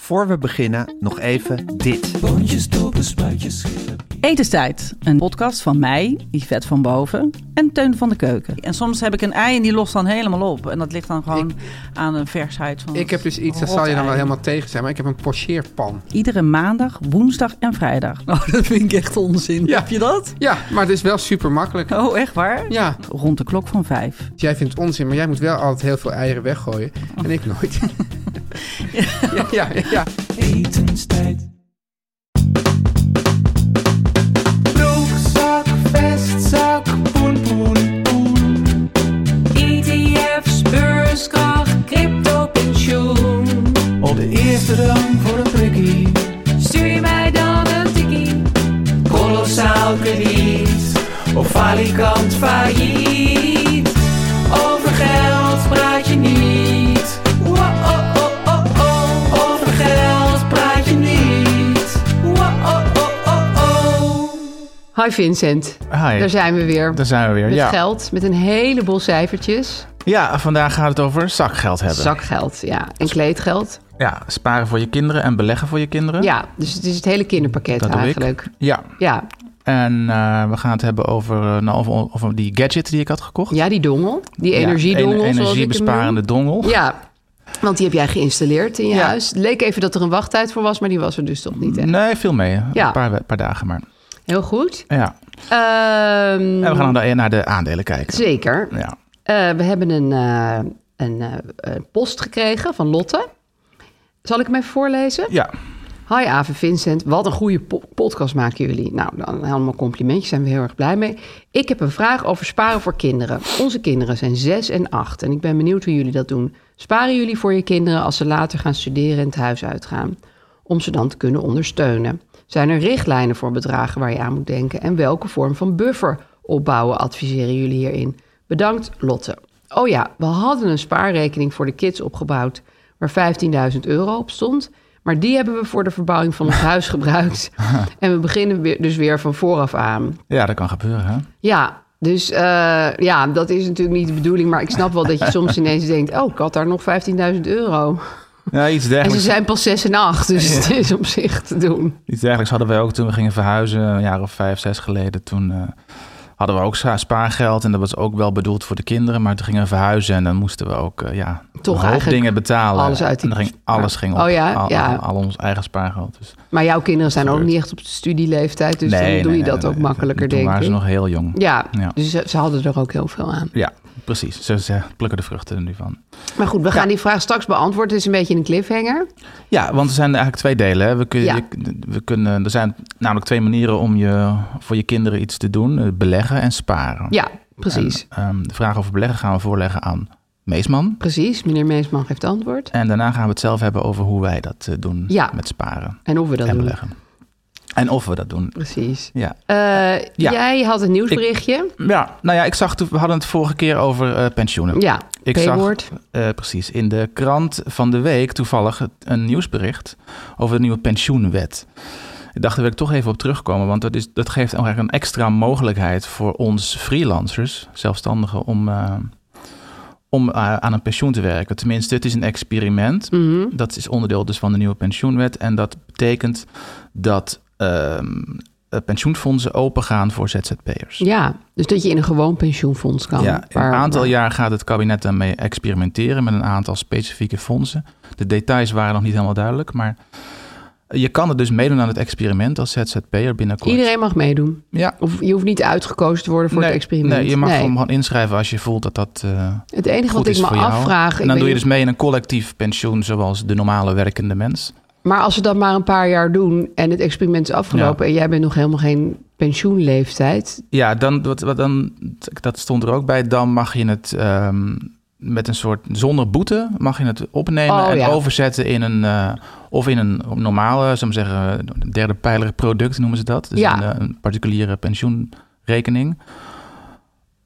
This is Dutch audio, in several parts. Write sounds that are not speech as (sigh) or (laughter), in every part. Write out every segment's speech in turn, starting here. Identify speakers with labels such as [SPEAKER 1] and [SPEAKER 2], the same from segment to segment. [SPEAKER 1] Voor we beginnen, nog even dit.
[SPEAKER 2] Etenstijd, een podcast van mij, Yvette van Boven en Teun van de Keuken. En soms heb ik een ei en die lost dan helemaal op. En dat ligt dan gewoon aan een versheid van
[SPEAKER 3] Ik heb dus iets, dat zal je dan wel helemaal tegen zijn, maar ik heb een pocheerpan.
[SPEAKER 2] Iedere maandag, woensdag en vrijdag. Oh, dat vind ik echt onzin.
[SPEAKER 3] Ja.
[SPEAKER 2] Heb je dat?
[SPEAKER 3] Ja, maar het is wel super
[SPEAKER 4] (laughs)
[SPEAKER 3] makkelijk.
[SPEAKER 2] Oh, echt waar?
[SPEAKER 3] Ja,
[SPEAKER 2] Rond de klok van vijf.
[SPEAKER 3] jij vindt het onzin, maar jij moet wel altijd heel veel eieren weggooien. En ik
[SPEAKER 4] (laughs)
[SPEAKER 3] nooit. Ja, ja, ja. ja.
[SPEAKER 5] Etenstijd.
[SPEAKER 3] Broekzak, vestzak, poen, poen, poen.
[SPEAKER 6] ETF's, beurskracht, crypto, pensioen.
[SPEAKER 5] Op de eerste rang voor een prikkie.
[SPEAKER 6] Stuur je mij dan een tikkie?
[SPEAKER 5] Kolossaal krediet. Of falikant failliet.
[SPEAKER 6] Over geld praat je niet. Wow-oh-oh-oh-oh. Over geld praat je niet. Wow-oh-oh-oh-oh.
[SPEAKER 4] Hi Vincent,
[SPEAKER 7] Hi.
[SPEAKER 4] daar zijn we weer.
[SPEAKER 7] Daar zijn we weer.
[SPEAKER 4] Met
[SPEAKER 7] ja.
[SPEAKER 4] geld, met een heleboel cijfertjes.
[SPEAKER 7] ja, vandaag gaat het over zakgeld hebben.
[SPEAKER 4] Zakgeld, ja. En kleedgeld.
[SPEAKER 7] Ja, sparen voor je kinderen en beleggen voor je kinderen.
[SPEAKER 4] Ja, dus het is het hele kinderpakket
[SPEAKER 7] dat doe
[SPEAKER 4] eigenlijk.
[SPEAKER 7] ik. Ja.
[SPEAKER 4] Ja.
[SPEAKER 7] En eh, we gaan het hebben over, eh, nou, over, over die gadget die ik had gekocht.
[SPEAKER 4] ja, die dongel. Die
[SPEAKER 7] Ja,
[SPEAKER 4] energiedongel.
[SPEAKER 7] ener-
[SPEAKER 4] zoals ik hem
[SPEAKER 7] Energiebesparende dongel.
[SPEAKER 4] noem. Ja, want die heb jij geïnstalleerd in je
[SPEAKER 7] Ja.
[SPEAKER 4] huis. Het leek even dat er een wachttijd voor was, maar die was er dus toch niet. Hè?
[SPEAKER 7] Nee, veel mee.
[SPEAKER 4] Ja.
[SPEAKER 7] Een paar, we- paar dagen maar.
[SPEAKER 4] Heel goed.
[SPEAKER 7] Ja.
[SPEAKER 4] Ehm,
[SPEAKER 7] En we gaan dan naar de aandelen kijken.
[SPEAKER 4] Zeker.
[SPEAKER 7] Ja.
[SPEAKER 4] Eh, we hebben een, eh, een eh, eh, post gekregen van Lotte. Zal ik hem even voorlezen?
[SPEAKER 7] ja.
[SPEAKER 4] Hi Aven Vincent, wat een goede po- podcast maken jullie. Nou, dan allemaal complimentjes, zijn we heel erg blij mee. Ik heb een vraag over sparen voor kinderen. Onze kinderen zijn 6 en 8 en ik ben benieuwd hoe jullie dat doen. Sparen jullie voor je kinderen als ze later gaan studeren en het huis uitgaan? Om ze dan te kunnen ondersteunen. Zijn er richtlijnen voor bedragen waar je aan moet denken? En welke vorm van buffer opbouwen adviseren jullie hierin? Bedankt Lotte. Oh ja, we hadden een spaarrekening voor de kids opgebouwd waar 15.000 euro op stond. Maar die hebben we voor de
[SPEAKER 7] (laughs)
[SPEAKER 4] verbouwing van ons huis gebruikt. En we beginnen weer, dus weer van vooraf aan.
[SPEAKER 7] ja, dat kan gebeuren. Hè?
[SPEAKER 4] Ja, dus eh, ja, dat is natuurlijk niet de bedoeling. Maar ik snap wel dat
[SPEAKER 7] (laughs)
[SPEAKER 4] je soms ineens denkt... oh, ik had daar nog 15.000 euro.
[SPEAKER 7] Ja, iets
[SPEAKER 4] En ze
[SPEAKER 7] dergelijks,
[SPEAKER 4] zijn pas 6 en 8, dus het is op zich te doen.
[SPEAKER 7] iets dergelijks hadden wij ook toen we gingen verhuizen, een jaar of vijf, zes geleden. Toen eh, hadden we ook spa- spaargeld en dat was ook wel bedoeld voor de kinderen. Maar toen gingen we verhuizen en dan moesten we ook eh, ja,
[SPEAKER 4] Toch
[SPEAKER 7] een hoop
[SPEAKER 4] eigenlijk
[SPEAKER 7] dingen betalen.
[SPEAKER 4] alles uit die-
[SPEAKER 7] En dan ging, alles ging op.
[SPEAKER 4] Oh ja,
[SPEAKER 7] al,
[SPEAKER 4] ja.
[SPEAKER 7] al- al ons eigen spaargeld. Dus,
[SPEAKER 4] Maar jouw kinderen zijn ook
[SPEAKER 7] Gebeurt.
[SPEAKER 4] niet echt op studieleeftijd... dus dan doe je dat ook makkelijker,
[SPEAKER 7] toen
[SPEAKER 4] denk
[SPEAKER 7] waren
[SPEAKER 4] ik.
[SPEAKER 7] ze nog heel jong.
[SPEAKER 4] Ja,
[SPEAKER 7] Ja.
[SPEAKER 4] dus ze, ze hadden er ook heel veel aan.
[SPEAKER 7] Ja, precies. Ze, ze plukken de vruchten er nu van.
[SPEAKER 4] Maar goed, we gaan die vraag straks beantwoorden. Het is een beetje een cliffhanger.
[SPEAKER 7] Ja, want er zijn eigenlijk twee delen. Hè. We kun,
[SPEAKER 4] Ja.
[SPEAKER 7] je, we kunnen, er zijn namelijk twee manieren om je, voor je kinderen iets te doen. Eh, Beleggen en sparen.
[SPEAKER 4] Ja, precies.
[SPEAKER 7] En, ehm, de vraag over beleggen gaan we voorleggen aan Meesman.
[SPEAKER 4] Precies, meneer Meesman geeft antwoord.
[SPEAKER 7] En daarna gaan we het zelf hebben over hoe wij dat eh, doen
[SPEAKER 4] Ja.
[SPEAKER 7] met sparen
[SPEAKER 4] En of we dat
[SPEAKER 7] en
[SPEAKER 4] doen.
[SPEAKER 7] beleggen. En of we dat doen.
[SPEAKER 4] Precies.
[SPEAKER 7] Ja.
[SPEAKER 4] Eh,
[SPEAKER 7] Ja.
[SPEAKER 4] Jij had een nieuwsberichtje.
[SPEAKER 7] ja, nou ja, ik zag, toen- we hadden het vorige keer over eh, pensioenen.
[SPEAKER 4] ja,
[SPEAKER 7] Ik
[SPEAKER 4] P-woord.
[SPEAKER 7] zag eh, precies in de krant van de week toevallig het- een nieuwsbericht over de nieuwe pensioenwet. Ik dacht, daar wil ik toch even op terugkomen, want dat, is, dat geeft eigenlijk een extra mogelijkheid voor ons freelancers, zelfstandigen, om, eh, om eh, aan een pensioen te werken. Tenminste, het is een experiment.
[SPEAKER 4] Mhm.
[SPEAKER 7] Dat is onderdeel dus van de nieuwe pensioenwet. En dat betekent dat ehm, eh, pensioenfondsen opengaan voor ZZP'ers.
[SPEAKER 4] Ja, dus dat je in een gewoon pensioenfonds kan.
[SPEAKER 7] Ja, een
[SPEAKER 4] Waar-
[SPEAKER 7] aantal
[SPEAKER 4] waar-
[SPEAKER 7] jaar gaat het kabinet daarmee experimenteren met een aantal specifieke fondsen. De details waren nog niet helemaal duidelijk, maar je kan er dus meedoen aan het experiment als ZZP'er binnenkort.
[SPEAKER 4] Iedereen mag meedoen.
[SPEAKER 7] Ja.
[SPEAKER 4] Of je hoeft niet uitgekozen te worden voor
[SPEAKER 7] nee,
[SPEAKER 4] het experiment.
[SPEAKER 7] Nee, je mag hem gewoon inschrijven als je voelt dat dat eh,
[SPEAKER 4] Het enige
[SPEAKER 7] goed
[SPEAKER 4] wat ik
[SPEAKER 7] is
[SPEAKER 4] me
[SPEAKER 7] voor jou.
[SPEAKER 4] afvraag, ik
[SPEAKER 7] En dan
[SPEAKER 4] weet
[SPEAKER 7] doe je
[SPEAKER 4] niet-
[SPEAKER 7] dus mee in een collectief pensioen zoals de normale werkende mens.
[SPEAKER 4] Maar als we dat maar een paar jaar doen en het experiment is afgelopen en jij bent nog helemaal geen pensioenleeftijd.
[SPEAKER 7] Ja, dan, wat, wat dan, dat stond er ook bij. Dan mag je het ehm, met een soort zonder boete mag je het opnemen
[SPEAKER 4] Oh,
[SPEAKER 7] en
[SPEAKER 4] ja.
[SPEAKER 7] overzetten in een eh, of in een normale, zou ik maar zeggen, derde pijler product noemen ze dat. Dus
[SPEAKER 4] Ja.
[SPEAKER 7] een, eh, een particuliere pensioenrekening.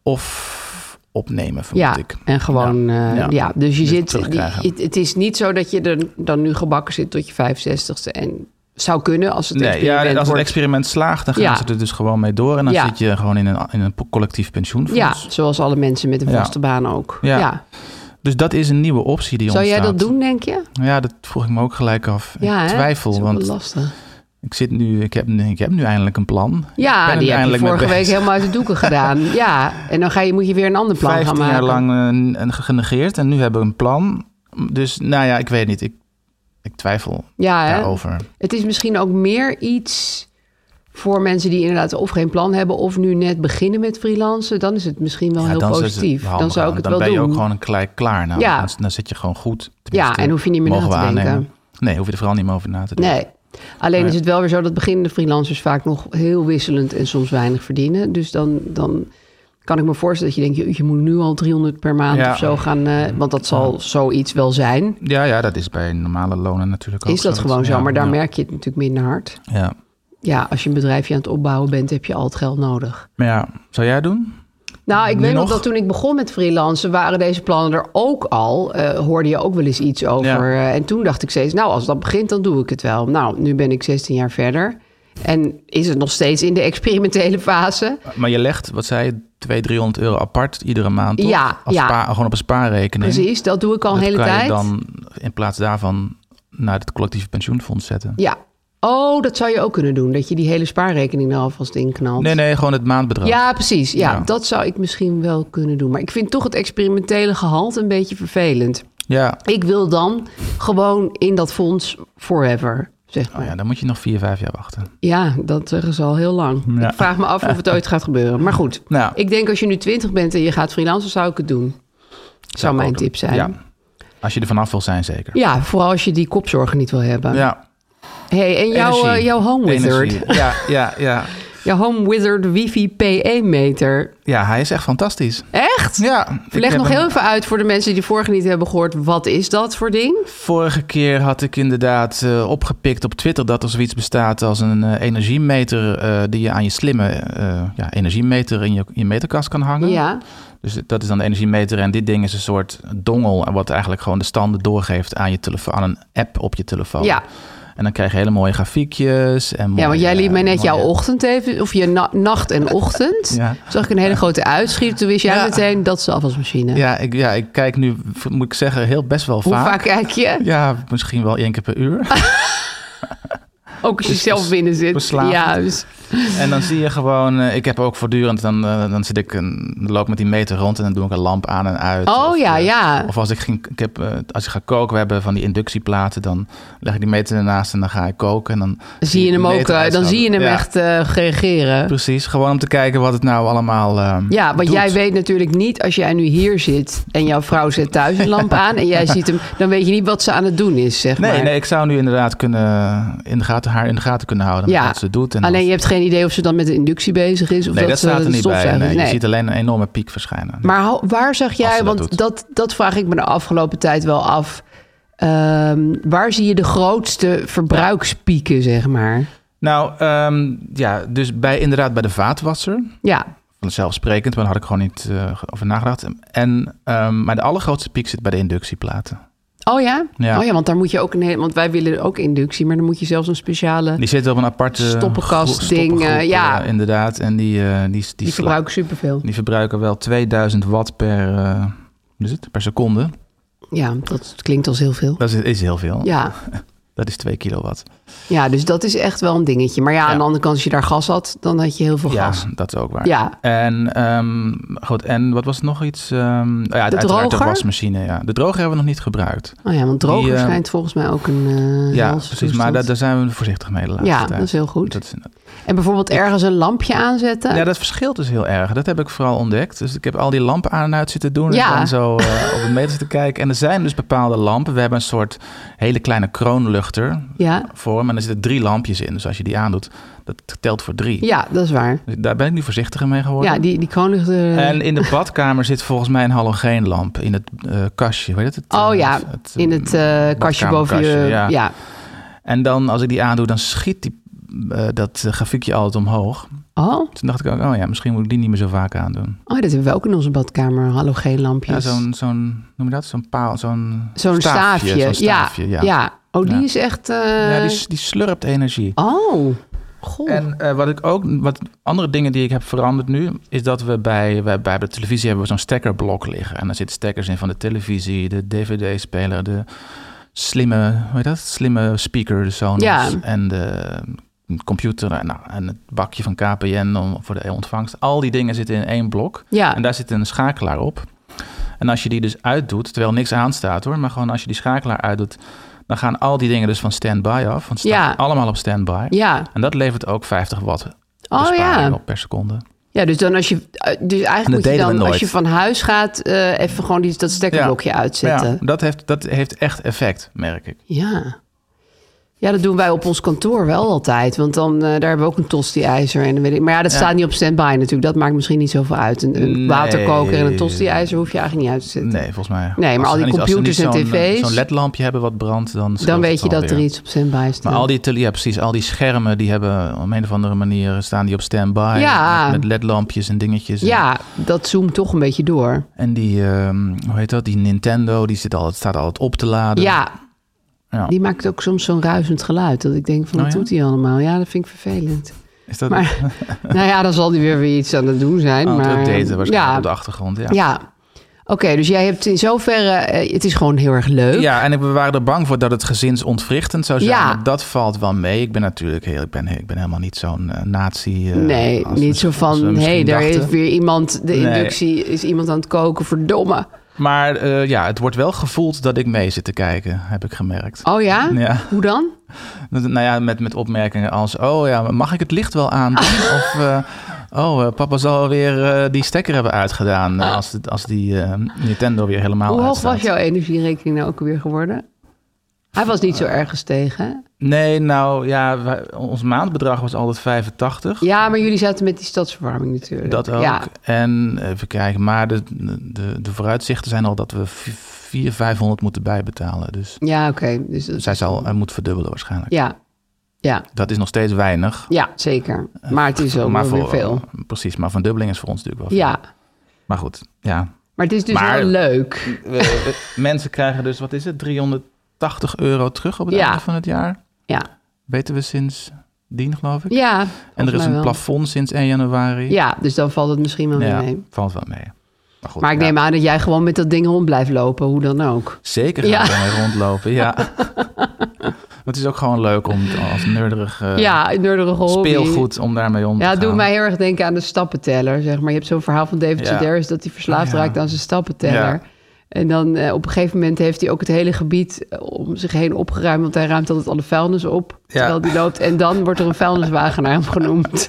[SPEAKER 7] Of opnemen, vermoed
[SPEAKER 4] ja,
[SPEAKER 7] ik.
[SPEAKER 4] en gewoon. eh,
[SPEAKER 7] Ja.
[SPEAKER 4] ja. dus je
[SPEAKER 7] Dus
[SPEAKER 4] zit.
[SPEAKER 7] terugkrijgen.
[SPEAKER 4] die- het, het is niet zo dat je er dan nu gebakken zit tot je 65ste. En zou kunnen als het
[SPEAKER 7] Nee, ja,
[SPEAKER 4] experiment
[SPEAKER 7] als het
[SPEAKER 4] wordt-
[SPEAKER 7] experiment slaagt, dan gaan
[SPEAKER 4] Ja.
[SPEAKER 7] ze er dus gewoon mee door. En dan
[SPEAKER 4] Ja.
[SPEAKER 7] zit je gewoon in een, in een collectief pensioenfonds.
[SPEAKER 4] Ja, zoals alle mensen met een
[SPEAKER 7] Ja.
[SPEAKER 4] vaste baan ook.
[SPEAKER 7] Ja.
[SPEAKER 4] Ja.
[SPEAKER 7] Dus dat is een nieuwe optie die
[SPEAKER 4] Zou jij
[SPEAKER 7] ontstaat.
[SPEAKER 4] dat doen, denk je?
[SPEAKER 7] Ja, dat vroeg ik me ook gelijk af.
[SPEAKER 4] Ja,
[SPEAKER 7] ik
[SPEAKER 4] hè?
[SPEAKER 7] twijfel,
[SPEAKER 4] Dat is ook
[SPEAKER 7] want
[SPEAKER 4] wel lastig.
[SPEAKER 7] ik zit nu, ik heb, nu- ik heb nu eindelijk een plan. Ik
[SPEAKER 4] Ja,
[SPEAKER 7] ben er
[SPEAKER 4] die heb je
[SPEAKER 7] eindelijk mee
[SPEAKER 4] vorige week
[SPEAKER 7] bezig.
[SPEAKER 4] helemaal uit de doeken
[SPEAKER 7] (laughs)
[SPEAKER 4] gedaan. Ja, en dan ga je, moet je weer een ander plan gaan
[SPEAKER 7] 15
[SPEAKER 4] maken.
[SPEAKER 7] jaar lang eh, en genegeerd en nu hebben we een plan. Dus nou ja, ik weet niet. Ik, ik twijfel
[SPEAKER 4] Ja, hè?
[SPEAKER 7] daarover.
[SPEAKER 4] Het is misschien ook meer iets voor mensen die inderdaad of geen plan hebben of nu net beginnen met freelancen. Dan is het misschien wel
[SPEAKER 7] Ja,
[SPEAKER 4] heel
[SPEAKER 7] dan is het
[SPEAKER 4] positief.
[SPEAKER 7] handig
[SPEAKER 4] Dan zou ik
[SPEAKER 7] aan.
[SPEAKER 4] het
[SPEAKER 7] dan
[SPEAKER 4] wel
[SPEAKER 7] ben
[SPEAKER 4] doen.
[SPEAKER 7] je ook gewoon gelijk klaar. Nou,
[SPEAKER 4] Ja.
[SPEAKER 7] dan, dan zit je gewoon goed.
[SPEAKER 4] Ja, en hoef je niet meer
[SPEAKER 7] mogen
[SPEAKER 4] na te
[SPEAKER 7] we
[SPEAKER 4] denken.
[SPEAKER 7] aannemen. Nee, hoef je er vooral niet meer over na te denken.
[SPEAKER 4] Nee. Alleen
[SPEAKER 7] Nee.
[SPEAKER 4] is het wel weer zo dat beginnende freelancers vaak nog heel wisselend en soms weinig verdienen. Dus dan, dan kan ik me voorstellen dat je denkt, je moet nu al 300 per maand
[SPEAKER 7] Ja.
[SPEAKER 4] of zo gaan. eh, want dat zal zoiets wel zijn.
[SPEAKER 7] Ja, ja, dat is bij normale lonen natuurlijk ook
[SPEAKER 4] Is dat
[SPEAKER 7] zo.
[SPEAKER 4] gewoon zo,
[SPEAKER 7] Ja,
[SPEAKER 4] maar daar
[SPEAKER 7] ja.
[SPEAKER 4] merk je het natuurlijk minder hard.
[SPEAKER 7] Ja.
[SPEAKER 4] Ja, als je een bedrijfje aan het opbouwen bent, heb je al het geld nodig.
[SPEAKER 7] Maar ja, zou jij het doen?
[SPEAKER 4] Nou, ik
[SPEAKER 7] Nu
[SPEAKER 4] weet nog
[SPEAKER 7] nog?
[SPEAKER 4] dat toen ik begon met freelancen, waren deze plannen er ook al. Eh, hoorde je ook wel eens iets over.
[SPEAKER 7] Ja.
[SPEAKER 4] Eh, en toen dacht ik steeds, nou, als dat begint, dan doe ik het wel. Nou, nu ben ik 16 jaar verder. En is het nog steeds in de experimentele fase?
[SPEAKER 7] Maar je legt, wat zei je, 200, 300 euro apart iedere maand, toch?
[SPEAKER 4] Ja,
[SPEAKER 7] Als
[SPEAKER 4] ja.
[SPEAKER 7] spa- gewoon op een spaarrekening.
[SPEAKER 4] Precies, dat doe ik al
[SPEAKER 7] Dat
[SPEAKER 4] een hele
[SPEAKER 7] kan
[SPEAKER 4] tijd.
[SPEAKER 7] je dan in plaats daarvan naar het collectieve pensioenfonds zetten.
[SPEAKER 4] Ja. Oh, dat zou je ook kunnen doen, dat je die hele spaarrekening er alvast in knalt.
[SPEAKER 7] Nee, nee, gewoon het maandbedrag.
[SPEAKER 4] Ja, precies. Ja,
[SPEAKER 7] Ja.
[SPEAKER 4] dat zou ik misschien wel kunnen doen. Maar ik vind toch het experimentele gehalte een beetje vervelend.
[SPEAKER 7] Ja.
[SPEAKER 4] Ik wil dan gewoon in dat fonds forever, zeg maar.
[SPEAKER 7] Oh ja, dan moet je nog 4, 5 jaar wachten.
[SPEAKER 4] Ja, dat zeggen ze al heel lang.
[SPEAKER 7] Ja.
[SPEAKER 4] Ik vraag me af of het ooit gaat gebeuren. Maar
[SPEAKER 7] (laughs)
[SPEAKER 4] goed,
[SPEAKER 7] Nou,
[SPEAKER 4] ik denk als je nu twintig bent en je gaat freelancen, zou ik het doen. Zou
[SPEAKER 7] ik
[SPEAKER 4] mijn
[SPEAKER 7] ook doen.
[SPEAKER 4] tip zijn.
[SPEAKER 7] Ja.
[SPEAKER 4] Ja.
[SPEAKER 7] Als je er vanaf wil zijn, zeker.
[SPEAKER 4] vooral als je die kopzorgen niet wil hebben.
[SPEAKER 7] Ja.
[SPEAKER 4] Hey, en jouw,
[SPEAKER 7] Energie.
[SPEAKER 4] eh, jouw home wizard,
[SPEAKER 7] Energie. Ja, ja, ja.
[SPEAKER 4] (laughs) jouw home wizard wifi PE meter.
[SPEAKER 7] Ja, hij is echt fantastisch.
[SPEAKER 4] Echt?
[SPEAKER 7] Ja. ik
[SPEAKER 4] Leg
[SPEAKER 7] heb
[SPEAKER 4] nog
[SPEAKER 7] hem-
[SPEAKER 4] heel even uit voor de mensen die de vorige niet hebben gehoord. Wat is dat voor ding?
[SPEAKER 7] Vorige keer had ik inderdaad eh, opgepikt op Twitter dat er zoiets bestaat als een eh, energiemeter eh, die je aan je slimme eh, ja, energiemeter in je, in je meterkast kan hangen.
[SPEAKER 4] Ja,
[SPEAKER 7] Dus dat is dan de energiemeter en dit ding is een soort dongel wat eigenlijk gewoon de standen doorgeeft aan je telefoon, aan een app op je telefoon.
[SPEAKER 4] ja.
[SPEAKER 7] En dan krijg je hele mooie grafiekjes en mooie,
[SPEAKER 4] ja want jij liet mij
[SPEAKER 7] eh,
[SPEAKER 4] net jouw
[SPEAKER 7] mooie-
[SPEAKER 4] ochtend even, of je na- nacht en
[SPEAKER 7] (laughs)
[SPEAKER 4] ochtend.
[SPEAKER 7] Ja.
[SPEAKER 4] Zag ik een hele grote uitschiet. Toen wist jij
[SPEAKER 7] Ja.
[SPEAKER 4] meteen dat is de afwasmachine.
[SPEAKER 7] Ja ik, ja, ik kijk nu, moet ik zeggen, heel best wel
[SPEAKER 4] Hoe
[SPEAKER 7] vaak.
[SPEAKER 4] vaak kijk je?
[SPEAKER 7] Ja, misschien wel één keer per uur.
[SPEAKER 4] (laughs) Ook als je
[SPEAKER 7] Dus
[SPEAKER 4] zelf
[SPEAKER 7] bes-
[SPEAKER 4] binnen zit.
[SPEAKER 7] beslavend.
[SPEAKER 4] Ja, dus-
[SPEAKER 7] En dan zie je gewoon, eh, ik heb ook voortdurend, dan, eh, dan zit ik, een, dan loop ik met die meter rond en dan doe ik een lamp aan en uit.
[SPEAKER 4] Oh
[SPEAKER 7] Of,
[SPEAKER 4] ja,
[SPEAKER 7] eh,
[SPEAKER 4] ja.
[SPEAKER 7] Of als ik, ging, ik heb, eh, als ik ga koken, we hebben van die inductieplaten, dan leg ik die meter ernaast en dan ga ik koken. En dan
[SPEAKER 4] zie je
[SPEAKER 7] ik
[SPEAKER 4] hem
[SPEAKER 7] die
[SPEAKER 4] ook,
[SPEAKER 7] meter
[SPEAKER 4] eh, dan
[SPEAKER 7] uitgaan.
[SPEAKER 4] zie je hem
[SPEAKER 7] Ja,
[SPEAKER 4] echt eh, reageren.
[SPEAKER 7] Precies, gewoon om te kijken wat het nou allemaal eh,
[SPEAKER 4] Ja, want
[SPEAKER 7] doet.
[SPEAKER 4] jij weet natuurlijk niet als jij nu hier zit en jouw vrouw zet thuis een lamp aan en
[SPEAKER 7] (laughs)
[SPEAKER 4] jij ziet hem, dan weet je niet wat ze aan het doen is, zeg
[SPEAKER 7] Nee,
[SPEAKER 4] maar.
[SPEAKER 7] nee, ik zou nu inderdaad kunnen in de gaten, haar in de gaten kunnen houden met
[SPEAKER 4] Ja.
[SPEAKER 7] wat ze doet. En
[SPEAKER 4] Alleen
[SPEAKER 7] of-
[SPEAKER 4] je hebt geen idee of ze dan met de inductie bezig is of
[SPEAKER 7] nee, dat,
[SPEAKER 4] dat ze
[SPEAKER 7] staat er niet bij.
[SPEAKER 4] stofzuigen
[SPEAKER 7] Nee,
[SPEAKER 4] is.
[SPEAKER 7] Je
[SPEAKER 4] Nee.
[SPEAKER 7] ziet alleen een enorme piek verschijnen.
[SPEAKER 4] Maar hou- waar zag
[SPEAKER 7] Als ze
[SPEAKER 4] jij,
[SPEAKER 7] dat
[SPEAKER 4] want
[SPEAKER 7] doet.
[SPEAKER 4] dat, dat vraag ik me de afgelopen tijd wel af. Ehm, waar zie je de grootste verbruikspieken, zeg maar?
[SPEAKER 7] Nou, ehm, ja, dus bij, inderdaad bij de vaatwasser.
[SPEAKER 4] Ja,
[SPEAKER 7] vanzelfsprekend, maar daar had ik gewoon niet eh, over nagedacht. En, ehm, maar de allergrootste piek zit bij de inductieplaten.
[SPEAKER 4] Oh ja?
[SPEAKER 7] Ja.
[SPEAKER 4] Oh ja, want daar moet je ook een hele, want wij willen ook inductie, maar dan moet je zelfs een speciale.
[SPEAKER 7] Die zitten op een aparte
[SPEAKER 4] Stoppenkast
[SPEAKER 7] gro-
[SPEAKER 4] ding,
[SPEAKER 7] stoppengroep,
[SPEAKER 4] eh, ja.
[SPEAKER 7] eh, inderdaad. En die, eh, die, die,
[SPEAKER 4] Die
[SPEAKER 7] sla-
[SPEAKER 4] verbruiken superveel.
[SPEAKER 7] die verbruiken wel 2000 watt per, eh, hoe is het? per seconde.
[SPEAKER 4] Ja, dat klinkt als heel veel.
[SPEAKER 7] Dat is, is heel veel.
[SPEAKER 4] Ja. (laughs) Dat is 2 kilowatt.
[SPEAKER 7] Ja, dus dat is echt wel een dingetje. Maar ja, aan de andere kant, als je daar gas had, dan had je heel veel
[SPEAKER 4] Ja,
[SPEAKER 7] gas.
[SPEAKER 4] dat is ook waar.
[SPEAKER 7] Ja.
[SPEAKER 4] En, ehm, goed, en wat was het nog iets? Ehm, oh ja, uiteraard de
[SPEAKER 7] droger?
[SPEAKER 4] wasmachine. Ja. De droger hebben we nog niet gebruikt.
[SPEAKER 7] Oh ja, want droger
[SPEAKER 4] Die, eh,
[SPEAKER 7] schijnt volgens mij ook een eh,
[SPEAKER 4] ja,
[SPEAKER 7] helstoestand.
[SPEAKER 4] precies. Maar daar, daar zijn we voorzichtig mee de laatste
[SPEAKER 7] Ja,
[SPEAKER 4] tijd.
[SPEAKER 7] dat is heel goed.
[SPEAKER 4] Dat is,
[SPEAKER 7] En bijvoorbeeld ergens een lampje aanzetten.
[SPEAKER 4] ja, dat verschilt dus heel erg. Dat heb ik vooral ontdekt. Dus ik heb al die lampen aan en uit zitten doen.
[SPEAKER 7] Ja.
[SPEAKER 4] En dan zo eh, op de meter zitten kijken. En er zijn dus bepaalde lampen. We hebben een soort hele kleine kroonluchter
[SPEAKER 7] ja.
[SPEAKER 4] voor hem. En er zitten drie lampjes in. Dus als je die aandoet, dat telt voor drie.
[SPEAKER 7] ja, dat is waar.
[SPEAKER 4] Dus daar ben ik nu voorzichtiger mee geworden.
[SPEAKER 7] Ja, die, die koninklijke...
[SPEAKER 4] En in de badkamer zit volgens mij een halogeenlamp in het eh, kastje. Weet je dat? het?
[SPEAKER 7] Oh
[SPEAKER 4] eh,
[SPEAKER 7] ja,
[SPEAKER 4] het,
[SPEAKER 7] in het eh, kastje boven je...
[SPEAKER 4] badkamerkastje,
[SPEAKER 7] Ja.
[SPEAKER 4] ja. En dan als ik die aandoe, dan schiet die, eh, dat eh, grafiekje altijd omhoog.
[SPEAKER 7] Oh,
[SPEAKER 4] Toen dacht ik ook, oh ja, misschien moet ik die niet meer zo vaak aandoen.
[SPEAKER 7] oh, dat hebben we ook in onze badkamer. Halogeenlampjes.
[SPEAKER 4] Ja, zo'n, zo'n, noem je dat? Zo'n paal, zo'n,
[SPEAKER 7] Zo'n staafje.
[SPEAKER 4] Zo'n staafje, ja.
[SPEAKER 7] ja. Oh, die
[SPEAKER 4] Ja.
[SPEAKER 7] is echt... eh,
[SPEAKER 4] Ja, die, die slurpt energie.
[SPEAKER 7] Oh, goh.
[SPEAKER 4] En eh, wat ik ook, wat andere dingen die ik heb veranderd nu, is dat we bij, wij- bij de televisie hebben we zo'n stekkerblok liggen. En daar zitten stekkers in van de televisie, de dvd-speler, de slimme, hoe heet dat? Slimme speaker, de Sonos
[SPEAKER 7] Ja.
[SPEAKER 4] en de computer en, nou, en het bakje van KPN om- voor de ontvangst. Al die dingen zitten in één blok.
[SPEAKER 7] Ja.
[SPEAKER 4] En daar zit een schakelaar op. En als je die dus uitdoet, terwijl niks aan staat hoor, maar gewoon als je die schakelaar uitdoet, dan gaan al die dingen dus van standby af. Want ze staan
[SPEAKER 7] Ja.
[SPEAKER 4] allemaal op standby.
[SPEAKER 7] Ja.
[SPEAKER 4] En dat levert ook 50 watt
[SPEAKER 7] Oh,
[SPEAKER 4] besparing
[SPEAKER 7] ja.
[SPEAKER 4] op per seconde.
[SPEAKER 7] Ja, dus dan als je... eh, Dus eigenlijk moet je
[SPEAKER 4] deden we
[SPEAKER 7] dan, als
[SPEAKER 4] nooit.
[SPEAKER 7] je van huis gaat... eh, even gewoon die, dat stekkerblokje uitzetten.
[SPEAKER 4] Ja, dat, heeft, dat heeft echt effect, merk ik.
[SPEAKER 7] Ja. Ja, dat doen wij op ons kantoor wel altijd. Want dan, eh, daar hebben we ook een tosti-ijzer. En dan weet ik, maar ja, dat
[SPEAKER 4] Ja.
[SPEAKER 7] staat niet op standby natuurlijk. Dat maakt misschien niet zoveel uit. Een, een
[SPEAKER 4] Nee.
[SPEAKER 7] waterkoker en een tosti-ijzer hoef je eigenlijk niet uit te zetten.
[SPEAKER 4] Nee, volgens mij.
[SPEAKER 7] maar
[SPEAKER 4] Als
[SPEAKER 7] al
[SPEAKER 4] ze
[SPEAKER 7] die
[SPEAKER 4] niet- als ze niet
[SPEAKER 7] computers en
[SPEAKER 4] zo'n, eh,
[SPEAKER 7] tv's.
[SPEAKER 4] Zo'n ledlampje hebben wat brandt, dan scheelt
[SPEAKER 7] dan
[SPEAKER 4] het
[SPEAKER 7] weet je dat
[SPEAKER 4] alweer.
[SPEAKER 7] er iets op standby staat.
[SPEAKER 4] Maar al die, tele- ja, precies, al die schermen, die hebben op een of andere manier staan die op standby.
[SPEAKER 7] Ja.
[SPEAKER 4] Met, met ledlampjes en dingetjes. en-
[SPEAKER 7] Ja, dat zoomt toch een beetje door.
[SPEAKER 4] En die, ehm, hoe heet dat? Die Nintendo, die zit altijd, staat altijd op te laden.
[SPEAKER 7] Ja,
[SPEAKER 4] Ja.
[SPEAKER 7] die maakt ook soms zo'n ruisend geluid. Dat ik denk van,
[SPEAKER 4] Oh,
[SPEAKER 7] wat
[SPEAKER 4] ja?
[SPEAKER 7] doet hij allemaal? Ja, dat vind ik vervelend.
[SPEAKER 4] Is dat (laughs)
[SPEAKER 7] Maar- nou ja, dan zal die weer weer iets aan het doen zijn.
[SPEAKER 4] oh,
[SPEAKER 7] maar, ehm,
[SPEAKER 4] dat daten waarschijnlijk
[SPEAKER 7] ja.
[SPEAKER 4] op de achtergrond. Ja.
[SPEAKER 7] Ja. Oké, dus jij hebt in zoverre... eh, het is gewoon heel erg leuk.
[SPEAKER 4] Ja, en ik- we waren er bang voor dat het gezinsontwrichtend zou zijn.
[SPEAKER 7] Ja.
[SPEAKER 4] maar Dat valt wel mee. Ik ben natuurlijk heel, ik ben, ik ben helemaal niet zo'n eh, nazi. eh,
[SPEAKER 7] nee,
[SPEAKER 4] als we-
[SPEAKER 7] niet zo
[SPEAKER 4] als we
[SPEAKER 7] van, hé,
[SPEAKER 4] misschien
[SPEAKER 7] hey, daar
[SPEAKER 4] dachten.
[SPEAKER 7] is weer iemand, de
[SPEAKER 4] Nee.
[SPEAKER 7] inductie is iemand aan het koken, verdomme.
[SPEAKER 4] Maar eh, ja, het wordt wel gevoeld dat ik mee zit te kijken, heb ik gemerkt.
[SPEAKER 7] Oh ja?
[SPEAKER 4] Ja.
[SPEAKER 7] Hoe dan?
[SPEAKER 4] Dat- Nou ja, met, met opmerkingen als: Oh ja, maar mag ik het licht wel
[SPEAKER 7] (laughs)
[SPEAKER 4] aandoen? of eh, Oh, eh, papa zal weer eh, die stekker hebben uitgedaan. eh, als, het- als die eh, Nintendo weer helemaal
[SPEAKER 7] Hoe hoog
[SPEAKER 4] uitstaat.
[SPEAKER 7] was jouw energierekening nou ook weer geworden? Hij was niet zo erg gestegen, hè?
[SPEAKER 4] Nee, nou ja, wij- ons maandbedrag was altijd 85.
[SPEAKER 7] Ja, maar jullie zaten met die stadsverwarming natuurlijk.
[SPEAKER 4] Dat ook.
[SPEAKER 7] Ja.
[SPEAKER 4] En even kijken, maar de, de, de vooruitzichten zijn al dat we 400, 500 moeten bijbetalen. Dus
[SPEAKER 7] Ja, oké. Dus dat-
[SPEAKER 4] zij zal eh, moeten verdubbelen waarschijnlijk.
[SPEAKER 7] ja. ja,
[SPEAKER 4] Dat is nog steeds weinig.
[SPEAKER 7] ja, zeker. Maar het is ook
[SPEAKER 4] maar
[SPEAKER 7] wel weer veel.
[SPEAKER 4] Precies, maar van dubbeling is voor ons natuurlijk wel veel.
[SPEAKER 7] Ja,
[SPEAKER 4] Maar goed, ja.
[SPEAKER 7] maar het is dus
[SPEAKER 4] Maar-
[SPEAKER 7] wel leuk.
[SPEAKER 4] We- we- mensen krijgen dus, wat is het, 380 euro terug op het
[SPEAKER 7] Ja.
[SPEAKER 4] einde van het jaar.
[SPEAKER 7] Ja,
[SPEAKER 4] Weten we sindsdien, geloof ik.
[SPEAKER 7] ja.
[SPEAKER 4] en er
[SPEAKER 7] volgens
[SPEAKER 4] is
[SPEAKER 7] mij
[SPEAKER 4] een
[SPEAKER 7] wel.
[SPEAKER 4] plafond sinds 1 januari.
[SPEAKER 7] Ja, dus dan valt het misschien wel weer
[SPEAKER 4] Ja,
[SPEAKER 7] mee.
[SPEAKER 4] valt wel mee. Maar, goed,
[SPEAKER 7] Maar ik
[SPEAKER 4] ja.
[SPEAKER 7] neem aan dat jij gewoon met dat ding rond blijft lopen, hoe dan ook.
[SPEAKER 4] Zeker gaan
[SPEAKER 7] Ja.
[SPEAKER 4] we daarmee rondlopen,
[SPEAKER 7] (laughs)
[SPEAKER 4] ja. Het is ook gewoon leuk om als nerderig eh,
[SPEAKER 7] ja, een nerdige hobby.
[SPEAKER 4] speelgoed om daarmee om te
[SPEAKER 7] Ja, het
[SPEAKER 4] gaan.
[SPEAKER 7] doet mij heel erg denken aan de stappenteller, zeg maar. Je hebt zo'n verhaal van David
[SPEAKER 4] Ja. Oh,
[SPEAKER 7] Sedaris dat hij verslaafd
[SPEAKER 4] Ja.
[SPEAKER 7] raakt aan zijn stappenteller.
[SPEAKER 4] Ja.
[SPEAKER 7] En dan eh, op een gegeven moment heeft hij ook het hele gebied eh, om zich heen opgeruimd, want hij ruimt altijd alle vuilnis op terwijl die loopt. En dan wordt er een vuilniswagen naar hem genoemd,
[SPEAKER 4] (laughs)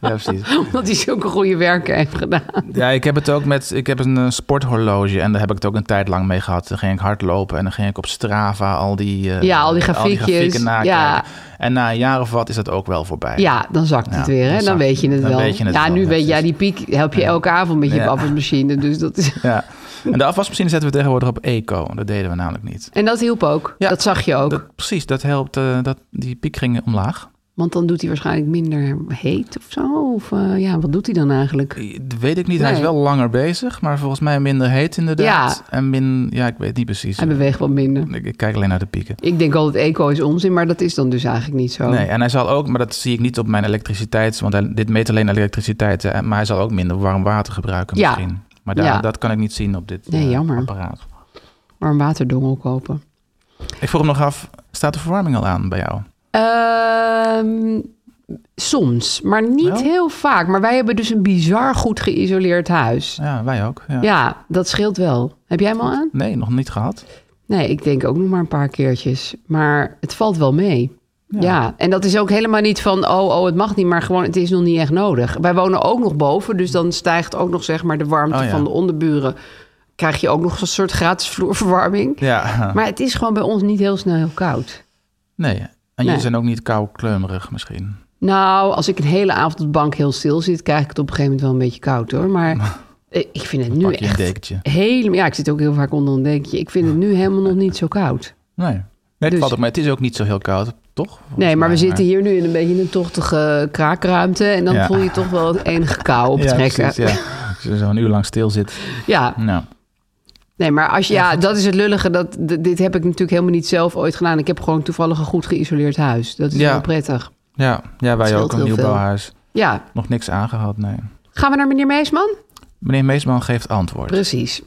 [SPEAKER 4] Ja, precies.
[SPEAKER 7] omdat hij zulke goede werken heeft gedaan.
[SPEAKER 4] Ja, ik heb het ook met... Ik heb een eh, sporthorloge en daar heb ik het ook een tijd lang mee gehad. Dan ging ik hardlopen en dan ging ik op Strava al die... eh,
[SPEAKER 7] Ja, al die grafiekjes,
[SPEAKER 4] grafieken nakijken.
[SPEAKER 7] ja.
[SPEAKER 4] En na een jaar of wat is dat ook wel voorbij.
[SPEAKER 7] Ja, dan zakt
[SPEAKER 4] Ja,
[SPEAKER 7] het weer, hè?
[SPEAKER 4] dan
[SPEAKER 7] Dan,
[SPEAKER 4] zakt
[SPEAKER 7] weet je
[SPEAKER 4] het.
[SPEAKER 7] het
[SPEAKER 4] Dan
[SPEAKER 7] wel.
[SPEAKER 4] weet je het
[SPEAKER 7] ja,
[SPEAKER 4] wel,
[SPEAKER 7] nu
[SPEAKER 4] dat
[SPEAKER 7] weet
[SPEAKER 4] is-
[SPEAKER 7] jij, die piek help je elke avond met je
[SPEAKER 4] Ja.
[SPEAKER 7] afwasmachine, dus dat is...
[SPEAKER 4] Ja. En de afwasmachine zetten we tegenwoordig op eco. Dat deden we namelijk niet.
[SPEAKER 7] En dat hielp ook,
[SPEAKER 4] Ja.
[SPEAKER 7] dat zag je ook.
[SPEAKER 4] Dat, precies, dat helpt. eh, dat, die piek ging omlaag.
[SPEAKER 7] Want dan doet hij waarschijnlijk minder heet of zo. Of eh, ja, wat doet hij dan eigenlijk?
[SPEAKER 4] Eh, Dat weet ik niet. Hij is
[SPEAKER 7] Nee.
[SPEAKER 4] wel langer bezig, maar volgens mij minder heet inderdaad.
[SPEAKER 7] Ja.
[SPEAKER 4] En min, ja, ik weet niet precies. eh,
[SPEAKER 7] Hij beweegt wat minder.
[SPEAKER 4] Ik, ik kijk alleen naar de pieken.
[SPEAKER 7] Ik denk altijd eco is onzin, maar dat is dan dus eigenlijk niet zo.
[SPEAKER 4] Nee, en hij zal ook, maar dat zie ik niet op mijn elektriciteit, want hij- dit meet alleen elektriciteit, hè, maar hij zal ook minder warm water gebruiken
[SPEAKER 7] Ja.
[SPEAKER 4] misschien. Maar daar,
[SPEAKER 7] Ja.
[SPEAKER 4] dat kan ik niet zien op dit
[SPEAKER 7] Nee,
[SPEAKER 4] eh,
[SPEAKER 7] jammer.
[SPEAKER 4] apparaat.
[SPEAKER 7] Maar een waterdongel kopen.
[SPEAKER 4] Ik vroeg hem nog af,
[SPEAKER 7] Staat de verwarming al aan bij jou?
[SPEAKER 4] Ehm, soms, maar niet heel vaak. Maar wij hebben dus een bizar goed geïsoleerd huis.
[SPEAKER 7] Ja, wij ook. Ja.
[SPEAKER 4] Ja, dat scheelt wel. Heb jij hem al aan?
[SPEAKER 7] Nee, nog niet gehad.
[SPEAKER 4] Nee, ik denk ook nog maar een paar keertjes. Maar het valt wel mee. Ja. en dat is ook helemaal niet van, oh, oh, het mag niet, maar gewoon, het is nog niet echt nodig. Wij wonen ook nog boven, dus dan stijgt ook nog, zeg maar, de warmte
[SPEAKER 7] Oh, ja.
[SPEAKER 4] van de onderburen. Krijg je ook nog een soort gratis vloerverwarming.
[SPEAKER 7] Ja.
[SPEAKER 4] Maar het is gewoon bij ons niet heel snel heel koud.
[SPEAKER 7] nee. En jullie
[SPEAKER 4] Nee.
[SPEAKER 7] zijn ook niet kou kleumerig misschien.
[SPEAKER 4] Nou, als ik een hele avond op de bank heel stil zit, krijg ik het op een gegeven moment wel een beetje koud hoor.
[SPEAKER 7] (laughs)
[SPEAKER 4] Maar eh, ik vind het nu
[SPEAKER 7] Pak je een
[SPEAKER 4] echt
[SPEAKER 7] dekentje.
[SPEAKER 4] helemaal. Ja, ik zit ook heel vaak onder een dekentje. Ik vind het nu helemaal nog niet zo koud.
[SPEAKER 7] Nee. Nee, het
[SPEAKER 4] Dus-
[SPEAKER 7] valt op, maar het is ook niet zo heel koud, toch? Volgens
[SPEAKER 4] Nee, maar we
[SPEAKER 7] mij,
[SPEAKER 4] zitten hier nu in een beetje een tochtige kraakruimte. En dan
[SPEAKER 7] Ja.
[SPEAKER 4] voel je toch wel het enige kou op
[SPEAKER 7] (laughs) ja,
[SPEAKER 4] trekken.
[SPEAKER 7] Precies,
[SPEAKER 4] (laughs)
[SPEAKER 7] ja, Als je zo'n uur lang stil zit.
[SPEAKER 4] Ja.
[SPEAKER 7] Nou,
[SPEAKER 4] nee, maar als je, ja, dat is het lullige. Dat, d- dit heb ik natuurlijk helemaal niet zelf ooit gedaan. Ik heb gewoon toevallig een goed geïsoleerd huis. Dat is
[SPEAKER 7] Ja.
[SPEAKER 4] heel prettig.
[SPEAKER 7] ja, ja wij
[SPEAKER 4] scheelt
[SPEAKER 7] ook een
[SPEAKER 4] heel
[SPEAKER 7] nieuw
[SPEAKER 4] veel.
[SPEAKER 7] bouwhuis.
[SPEAKER 4] Ja,
[SPEAKER 7] Nog niks aangehad, nee.
[SPEAKER 4] gaan we naar meneer Meesman?
[SPEAKER 7] Meneer Meesman geeft antwoord.
[SPEAKER 4] Precies.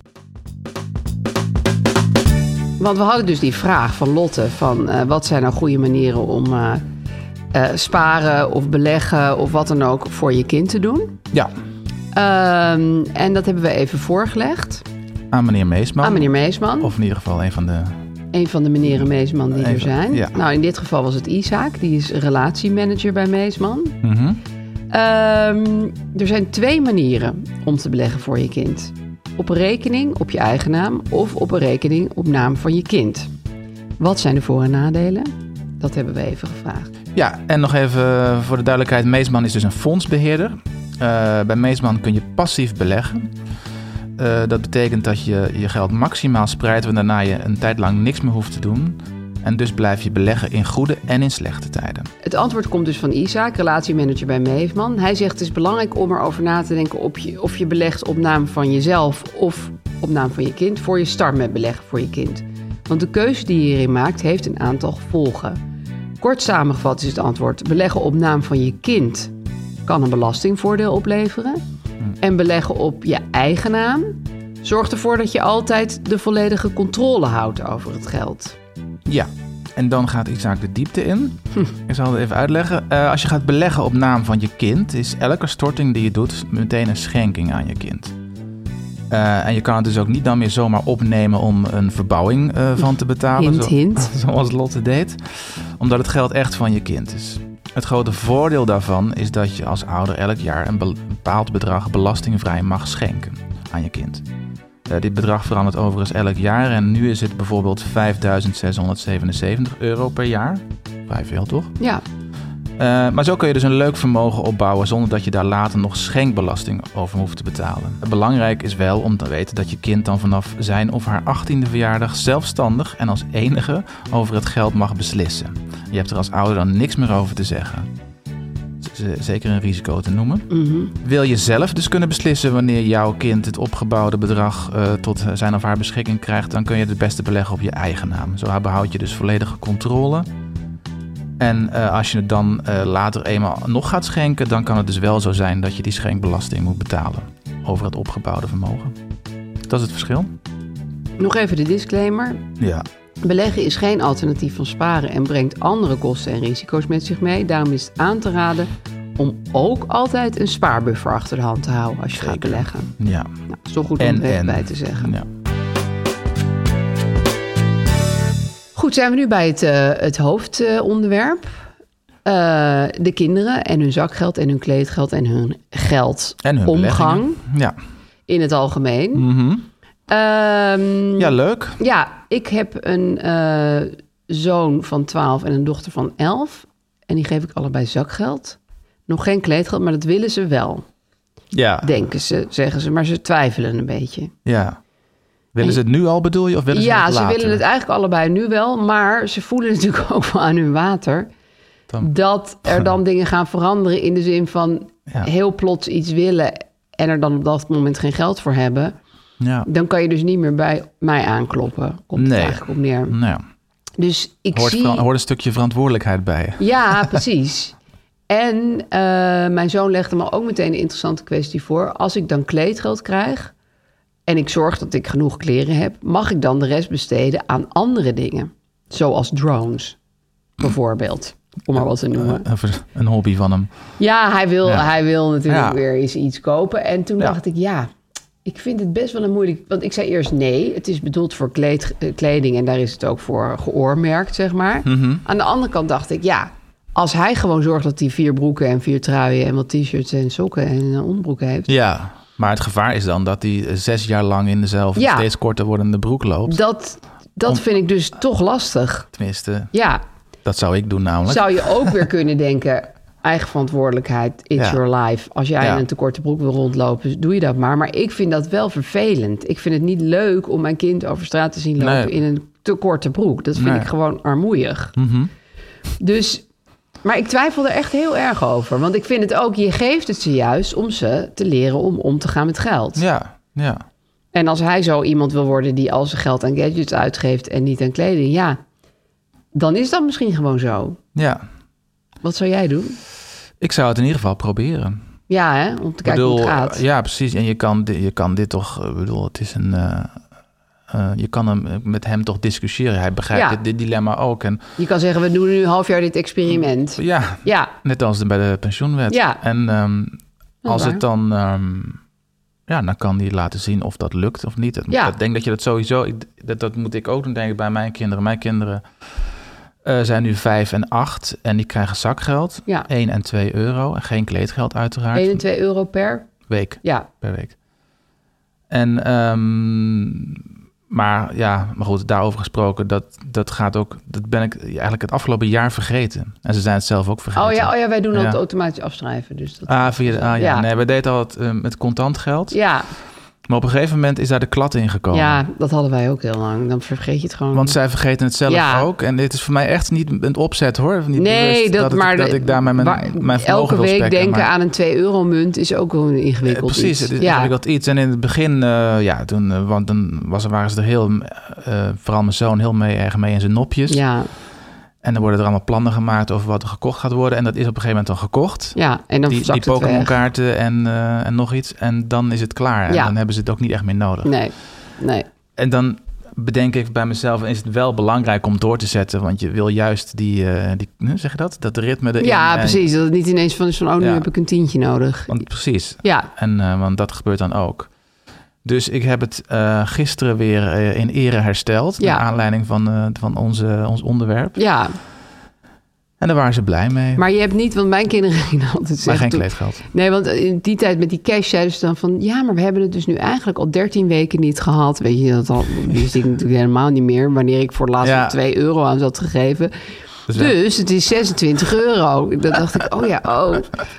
[SPEAKER 4] Want we hadden dus die vraag van Lotte: van eh, wat zijn nou goede manieren om eh, eh, sparen of beleggen of wat dan ook voor je kind te doen?
[SPEAKER 7] Ja,
[SPEAKER 4] Ehm, en dat hebben we even voorgelegd
[SPEAKER 7] aan meneer Meesman.
[SPEAKER 4] aan meneer Meesman.
[SPEAKER 7] Of in ieder geval een van de...
[SPEAKER 4] Een van de meneren Meesman die er
[SPEAKER 7] Even,
[SPEAKER 4] zijn.
[SPEAKER 7] ja.
[SPEAKER 4] Nou, in dit geval was het Isaac, die is relatiemanager bij Meesman.
[SPEAKER 7] Mhm.
[SPEAKER 4] Ehm, er zijn twee manieren om te beleggen voor je kind. Op een rekening op je eigen naam of op een rekening op naam van je kind. Wat zijn de voor- en nadelen? Dat hebben we even gevraagd.
[SPEAKER 7] Ja, en nog even voor de duidelijkheid: Meesman is dus een fondsbeheerder. Eh, bij Meesman kun je passief beleggen. Eh, dat betekent dat je je geld maximaal spreidt, want daarna je een tijd lang niks meer hoeft te doen. En dus blijf je beleggen in goede en in slechte tijden.
[SPEAKER 4] Het antwoord komt dus van Isaac, relatiemanager bij Meesman. Hij zegt het is belangrijk om erover na te denken op je, of je belegt op naam van jezelf of op naam van je kind voor je start met beleggen voor je kind. Want de keuze die je hierin maakt heeft een aantal gevolgen. Kort samengevat is het antwoord: beleggen op naam van je kind kan een belastingvoordeel opleveren.
[SPEAKER 7] Hm.
[SPEAKER 4] En beleggen op je eigen naam zorgt ervoor dat je altijd de volledige controle houdt over het geld.
[SPEAKER 7] Ja, en dan gaat Isaac de diepte in.
[SPEAKER 4] Hm.
[SPEAKER 7] Ik zal het even uitleggen. Eh, als je gaat beleggen op naam van je kind, is elke storting die je doet meteen een schenking aan je kind. Eh, en je kan het dus ook niet dan meer zomaar opnemen om een verbouwing eh, van te betalen.
[SPEAKER 4] Hint,
[SPEAKER 7] zo-
[SPEAKER 4] hint.
[SPEAKER 7] (laughs) Zoals Lotte deed. Omdat het geld echt van je kind is. Het grote voordeel daarvan is dat je als ouder elk jaar een be- bepaald bedrag belastingvrij mag schenken aan je kind. Eh, dit bedrag verandert overigens elk jaar en nu is het bijvoorbeeld 5.677 euro per jaar. Vrij veel toch?
[SPEAKER 4] Ja,
[SPEAKER 7] Eh, maar zo kun je dus een leuk vermogen opbouwen zonder dat je daar later nog schenkbelasting over hoeft te betalen. Belangrijk is wel om te weten dat je kind dan vanaf zijn of haar 18e verjaardag zelfstandig en als enige over het geld mag beslissen. Je hebt er als ouder dan niks meer over te zeggen. Z- z- Zeker een risico te noemen.
[SPEAKER 4] Mhm.
[SPEAKER 7] Wil je zelf dus kunnen beslissen wanneer jouw kind het opgebouwde bedrag eh, tot zijn of haar beschikking krijgt, dan kun je het beste beleggen op je eigen naam. Zo behoud je dus volledige controle. En eh, als je het dan eh, later eenmaal nog gaat schenken, dan kan het dus wel zo zijn dat je die schenkbelasting moet betalen over het opgebouwde vermogen. Dat is het verschil.
[SPEAKER 4] nog even de disclaimer.
[SPEAKER 7] Ja.
[SPEAKER 4] Beleggen is geen alternatief van sparen en brengt andere kosten en risico's met zich mee. Daarom is het aan te raden om ook altijd een spaarbuffer achter de hand te houden als je gaat beleggen.
[SPEAKER 7] Ja.
[SPEAKER 4] Nou, is toch goed om
[SPEAKER 7] En-
[SPEAKER 4] er even
[SPEAKER 7] en.
[SPEAKER 4] bij te zeggen.
[SPEAKER 7] ja.
[SPEAKER 4] Goed, zijn we nu bij het, eh, het hoofdonderwerp. Eh, de kinderen en hun zakgeld en hun kleedgeld en hun geld.
[SPEAKER 7] En hun
[SPEAKER 4] omgang
[SPEAKER 7] beleggingen. Ja.
[SPEAKER 4] in het algemeen.
[SPEAKER 7] Mhm.
[SPEAKER 4] Ehm,
[SPEAKER 7] ja, leuk.
[SPEAKER 4] Ja, ik heb een eh, zoon van 12 en een dochter van 11. En die geef ik allebei zakgeld. Nog geen kleedgeld, maar dat willen ze wel.
[SPEAKER 7] Ja.
[SPEAKER 4] Denken ze, zeggen ze. Maar ze twijfelen een beetje.
[SPEAKER 7] ja. Willen ze het nu al bedoel je? Of willen ze
[SPEAKER 4] ja,
[SPEAKER 7] het
[SPEAKER 4] ze
[SPEAKER 7] later?
[SPEAKER 4] willen het eigenlijk allebei nu wel. Maar ze voelen (laughs) natuurlijk ook wel aan hun water.
[SPEAKER 7] Dan-
[SPEAKER 4] Dat er
[SPEAKER 7] (laughs)
[SPEAKER 4] dan dingen gaan veranderen in de zin van
[SPEAKER 7] Ja.
[SPEAKER 4] heel plots iets willen en er dan op dat moment geen geld voor hebben.
[SPEAKER 7] Ja.
[SPEAKER 4] Dan kan je dus niet meer bij mij aankloppen. Komt het
[SPEAKER 7] Nee.
[SPEAKER 4] eigenlijk op neer.
[SPEAKER 7] Nou ja.
[SPEAKER 4] Dus ik
[SPEAKER 7] Hoort,
[SPEAKER 4] zie...
[SPEAKER 7] vera- hoort een stukje verantwoordelijkheid bij.
[SPEAKER 4] Ja, precies. En eh, mijn zoon legde me ook meteen een interessante kwestie voor. Als ik dan kleedgeld krijg en ik zorg dat ik genoeg kleren heb, mag ik dan de rest besteden aan andere dingen, zoals drones. bijvoorbeeld. Om maar wat te noemen.
[SPEAKER 7] Eh, Even een hobby van hem.
[SPEAKER 4] Ja, hij wil,
[SPEAKER 7] Ja.
[SPEAKER 4] Hij wil natuurlijk
[SPEAKER 7] Ja.
[SPEAKER 4] weer eens iets kopen. En toen dacht ik, ja, ik vind het best wel een moeilijk... Want ik zei eerst nee, het is bedoeld voor kleed- eh, kleding... en daar is het ook voor geoormerkt, zeg maar.
[SPEAKER 7] Mhm.
[SPEAKER 4] Aan de andere kant dacht ik, ja... als hij gewoon zorgt dat hij vier broeken en vier truien... en wat t-shirts en sokken en eh, onderbroeken heeft...
[SPEAKER 7] Ja, maar het gevaar is dan dat hij eh, zes jaar lang in dezelfde
[SPEAKER 4] Ja.
[SPEAKER 7] steeds korter wordende broek loopt.
[SPEAKER 4] dat, dat vind ik dus toch lastig.
[SPEAKER 7] Tenminste,
[SPEAKER 4] Ja,
[SPEAKER 7] dat zou ik doen namelijk.
[SPEAKER 4] zou je ook weer kunnen
[SPEAKER 7] (laughs)
[SPEAKER 4] denken... eigen verantwoordelijkheid, it's
[SPEAKER 7] Ja.
[SPEAKER 4] your life. Als jij
[SPEAKER 7] Ja.
[SPEAKER 4] in een te korte broek wil rondlopen, doe je dat maar. Maar ik vind dat wel vervelend. Ik vind het niet leuk om mijn kind over straat te zien lopen...
[SPEAKER 7] Nee.
[SPEAKER 4] in een te korte broek. Dat vind
[SPEAKER 7] Nee.
[SPEAKER 4] ik gewoon armoeig.
[SPEAKER 7] Mhm.
[SPEAKER 4] Dus, maar ik twijfel er echt heel erg over. Want ik vind het ook, je geeft het ze juist om ze te leren om om te gaan met geld.
[SPEAKER 7] Ja, ja.
[SPEAKER 4] En als hij zo iemand wil worden die al zijn geld aan gadgets uitgeeft en niet aan kleding, ja, dan is dat misschien gewoon zo.
[SPEAKER 7] ja.
[SPEAKER 4] Wat zou jij doen?
[SPEAKER 7] Ik zou het in ieder geval proberen.
[SPEAKER 4] Ja, hè? om te
[SPEAKER 7] Ik
[SPEAKER 4] kijken hoe het gaat.
[SPEAKER 7] eh, ja, precies. En je kan, di- je kan dit toch, eh, ik bedoel, het is een. eh, eh, je kan hem, eh, met hem toch discussiëren. Hij begrijpt
[SPEAKER 4] Ja.
[SPEAKER 7] dit, dit dilemma ook. En
[SPEAKER 4] Je kan zeggen, we doen nu een half jaar dit experiment.
[SPEAKER 7] ja,
[SPEAKER 4] Ja,
[SPEAKER 7] net als bij de pensioenwet.
[SPEAKER 4] Ja.
[SPEAKER 7] En ehm,
[SPEAKER 4] Dat
[SPEAKER 7] als
[SPEAKER 4] waar.
[SPEAKER 7] het dan. ehm, ja, dan kan hij laten zien of dat lukt of niet. Het-
[SPEAKER 4] Ja.
[SPEAKER 7] Ik denk dat je dat sowieso. ik- Dat, dat moet ik ook doen, denk ik, bij mijn kinderen. Mijn kinderen eh, zijn nu vijf en acht. En die krijgen zakgeld.
[SPEAKER 4] Ja.
[SPEAKER 7] 1 en 2 euro. En geen kleedgeld, uiteraard.
[SPEAKER 4] 1 en 2 euro per.
[SPEAKER 7] week
[SPEAKER 4] Ja,
[SPEAKER 7] per week. En, ehm, maar ja, maar goed, daarover gesproken, dat, dat gaat ook, dat ben ik eigenlijk het afgelopen jaar vergeten. En ze zijn het zelf ook vergeten.
[SPEAKER 4] oh ja, oh ja wij doen
[SPEAKER 7] Ja.
[SPEAKER 4] dat automatisch afschrijven. Dus dat...
[SPEAKER 7] Ah, via de, ah, ja.
[SPEAKER 4] Ja.
[SPEAKER 7] Nee, we deden al het eh, met contant geld.
[SPEAKER 4] ja,
[SPEAKER 7] Maar op een gegeven moment is daar de klat in gekomen.
[SPEAKER 4] ja, dat hadden wij ook heel lang. Dan vergeet je het gewoon.
[SPEAKER 7] Want zij vergeten het zelf
[SPEAKER 4] Ja.
[SPEAKER 7] ook. En dit is voor mij echt niet een opzet hoor. Niet
[SPEAKER 4] nee,
[SPEAKER 7] bewust
[SPEAKER 4] dat,
[SPEAKER 7] ik-
[SPEAKER 4] maar
[SPEAKER 7] dat ik daar mijn, mijn,
[SPEAKER 4] waar-
[SPEAKER 7] mijn vermogen
[SPEAKER 4] elke
[SPEAKER 7] wil
[SPEAKER 4] week
[SPEAKER 7] spekken,
[SPEAKER 4] denken
[SPEAKER 7] maar-
[SPEAKER 4] aan een 2 euro munt is ook wel een ingewikkeld
[SPEAKER 7] Eh, precies,
[SPEAKER 4] iets.
[SPEAKER 7] het is
[SPEAKER 4] ja.
[SPEAKER 7] ingewikkeld iets. En in het begin, eh, ja, toen, eh, want dan was, waren ze er heel, eh, vooral mijn zoon, heel mee, erg mee in zijn nopjes.
[SPEAKER 4] Ja,
[SPEAKER 7] En dan worden er allemaal plannen gemaakt over wat er gekocht gaat worden. En dat is op een gegeven moment dan gekocht.
[SPEAKER 4] ja, en dan
[SPEAKER 7] die die
[SPEAKER 4] zakt het
[SPEAKER 7] Pokémon
[SPEAKER 4] weg.
[SPEAKER 7] kaarten en, eh, en nog iets. En dan is het klaar. En
[SPEAKER 4] Ja.
[SPEAKER 7] dan hebben ze het ook niet echt meer nodig.
[SPEAKER 4] Nee, nee.
[SPEAKER 7] En dan bedenk ik bij mezelf, is het wel belangrijk om door te zetten. Want je wil juist die, eh, die hoe zeg je dat? Dat ritme erin.
[SPEAKER 4] Ja,
[SPEAKER 7] en-
[SPEAKER 4] precies. Dat het niet ineens van is van, oh, nu
[SPEAKER 7] Ja.
[SPEAKER 4] heb ik een tientje nodig.
[SPEAKER 7] Want precies,
[SPEAKER 4] Ja,
[SPEAKER 7] En, eh, want dat gebeurt dan ook. Dus ik heb het eh, gisteren weer eh, in ere hersteld.
[SPEAKER 4] Ja.
[SPEAKER 7] Naar aanleiding van, eh, van onze, ons onderwerp.
[SPEAKER 4] ja.
[SPEAKER 7] En daar waren ze blij mee. Maar,
[SPEAKER 4] Maar je hebt niet, want mijn kinderen (laughs) gingen altijd zeggen...
[SPEAKER 7] geen
[SPEAKER 4] toen-
[SPEAKER 7] kleedgeld.
[SPEAKER 4] Nee, want in die tijd met die cash zeiden ze dan van... ja, maar we hebben het dus nu eigenlijk al 13 weken niet gehad. Weet je, dat al, wist ik natuurlijk helemaal niet meer... wanneer ik voor het laatst
[SPEAKER 7] Ja.
[SPEAKER 4] nog 2 euro aan ze had gegeven.
[SPEAKER 7] Dus
[SPEAKER 4] Dus,
[SPEAKER 7] we-
[SPEAKER 4] het is 26 euro. Dan dacht ik, oh ja, oh.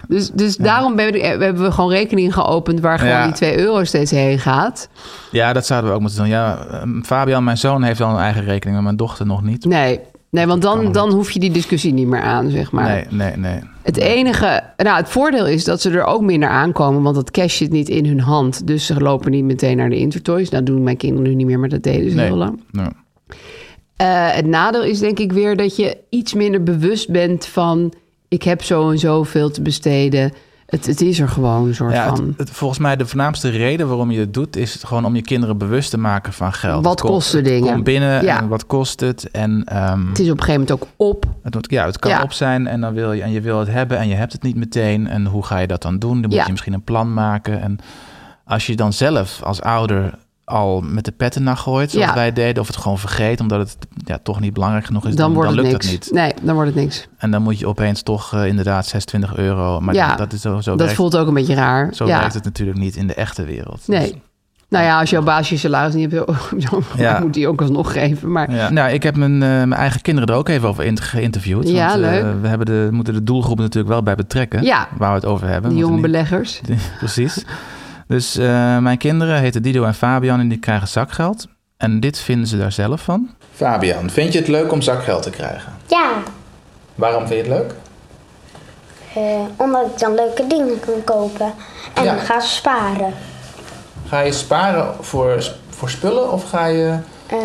[SPEAKER 4] Dus, dus daarom ben- hebben we gewoon rekening geopend... waar gewoon
[SPEAKER 7] Ja.
[SPEAKER 4] die 2 euro steeds heen gaat.
[SPEAKER 7] Ja, dat zouden we ook moeten doen. Ja, ehm, Fabian, mijn zoon, heeft al een eigen rekening, maar mijn dochter nog niet.
[SPEAKER 4] Nee, nee want
[SPEAKER 7] Kan
[SPEAKER 4] dan,
[SPEAKER 7] niet.
[SPEAKER 4] dan hoef je die discussie niet meer aan, zeg maar.
[SPEAKER 7] Nee, nee, nee.
[SPEAKER 4] Het enige, nou het voordeel is dat ze er ook minder aankomen, want dat cash zit niet in hun hand. Dus ze lopen niet meteen naar de Intertoys. Dat doen mijn kinderen nu niet meer, maar dat deden ze
[SPEAKER 7] Nee.
[SPEAKER 4] heel lang.
[SPEAKER 7] Nee.
[SPEAKER 4] Eh, het nadeel is denk ik weer dat je iets minder bewust bent van, ik heb zo en zoveel te besteden. Het, het is er gewoon een soort
[SPEAKER 7] Ja, het-
[SPEAKER 4] van.
[SPEAKER 7] het- volgens mij de voornaamste reden waarom je het doet... is gewoon om je kinderen bewust te maken van geld.
[SPEAKER 4] Wat
[SPEAKER 7] Het komt-
[SPEAKER 4] kosten
[SPEAKER 7] het
[SPEAKER 4] dingen?
[SPEAKER 7] komt binnen
[SPEAKER 4] Ja.
[SPEAKER 7] en wat kost het? En ehm,
[SPEAKER 4] het is op een gegeven moment ook op.
[SPEAKER 7] Het, moet- ja, het kan
[SPEAKER 4] Ja.
[SPEAKER 7] op zijn en, dan wil je, en je wil het hebben en je hebt het niet meteen. En hoe ga je dat dan doen? Dan moet
[SPEAKER 4] Ja.
[SPEAKER 7] je misschien een plan maken. En als je dan zelf als ouder al met de petten naar gooit, zoals
[SPEAKER 4] Ja.
[SPEAKER 7] wij deden, of het gewoon vergeet omdat het ja, toch niet belangrijk genoeg is,
[SPEAKER 4] Dan,
[SPEAKER 7] dan, dan,
[SPEAKER 4] wordt
[SPEAKER 7] lukt
[SPEAKER 4] het niks.
[SPEAKER 7] dat niet.
[SPEAKER 4] Nee, dan wordt het niks.
[SPEAKER 7] En dan moet je opeens toch eh, inderdaad 26 euro. Maar
[SPEAKER 4] Ja,
[SPEAKER 7] dat, dat is zo, zo,
[SPEAKER 4] dat
[SPEAKER 7] werkt,
[SPEAKER 4] voelt ook een beetje raar.
[SPEAKER 7] zo
[SPEAKER 4] ja.
[SPEAKER 7] werkt het natuurlijk niet in de echte wereld.
[SPEAKER 4] Nee.
[SPEAKER 7] Dus,
[SPEAKER 4] Nou ja, als jouw baas je salaris niet hebt, (laughs) dan
[SPEAKER 7] Ja.
[SPEAKER 4] moet die ook alsnog geven. Maar
[SPEAKER 7] ja. Nou, ik heb mijn, eh, mijn eigen kinderen er ook even over in- geïnterviewd.
[SPEAKER 4] Ja,
[SPEAKER 7] want, eh,
[SPEAKER 4] leuk.
[SPEAKER 7] we hebben de, moeten de doelgroep natuurlijk wel bij betrekken.
[SPEAKER 4] Ja.
[SPEAKER 7] Waar we het over hebben.
[SPEAKER 4] die
[SPEAKER 7] We moeten
[SPEAKER 4] jonge
[SPEAKER 7] niet-
[SPEAKER 4] beleggers.
[SPEAKER 7] (laughs) Precies. Dus eh, mijn kinderen heten Dido en Fabian en die krijgen zakgeld. En dit vinden ze daar zelf van. Fabian, vind je het leuk om zakgeld te krijgen?
[SPEAKER 8] Ja,
[SPEAKER 7] Waarom vind je het leuk?
[SPEAKER 8] eh, omdat ik dan leuke dingen kan kopen en
[SPEAKER 7] Ja.
[SPEAKER 8] ga sparen.
[SPEAKER 7] Ga je sparen voor, voor spullen of ga je
[SPEAKER 8] Eh,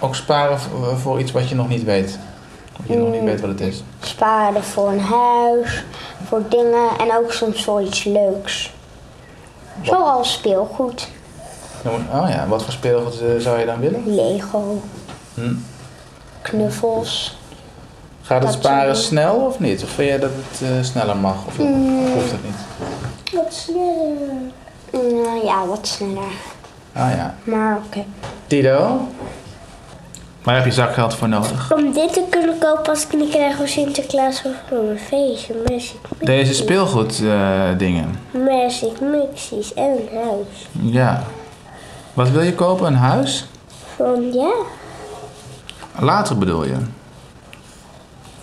[SPEAKER 7] ook sparen voor, voor iets wat je nog niet weet? Wat je nog niet weet wat het is.
[SPEAKER 8] sparen voor een huis, voor dingen en ook soms voor iets leuks. Zoals speelgoed,
[SPEAKER 7] Dan moet- Oh ja, wat voor speelgoed eh, zou je dan willen?
[SPEAKER 8] Lego,
[SPEAKER 7] Hm.
[SPEAKER 8] knuffels.
[SPEAKER 7] Gaat het
[SPEAKER 8] Dat
[SPEAKER 7] sparen
[SPEAKER 8] ze-
[SPEAKER 7] snel of niet? Of vind jij dat het eh, sneller mag? Of,
[SPEAKER 8] Mm.
[SPEAKER 7] of hoeft het niet?
[SPEAKER 8] Wat sneller. Nou ja, wat sneller.
[SPEAKER 7] Ah ja.
[SPEAKER 8] Maar oké.
[SPEAKER 7] Tido? Waar heb je zakgeld voor nodig?
[SPEAKER 8] Om dit te kunnen kopen als ik niet krijg voor Sinterklaas of voor mijn feestje. Magic Mickey's.
[SPEAKER 7] Deze speelgoed eh, dingen.
[SPEAKER 8] Magic Mixies en een huis.
[SPEAKER 7] Ja. Wat wil je kopen? Een huis?
[SPEAKER 8] Van ja,
[SPEAKER 7] Later bedoel je.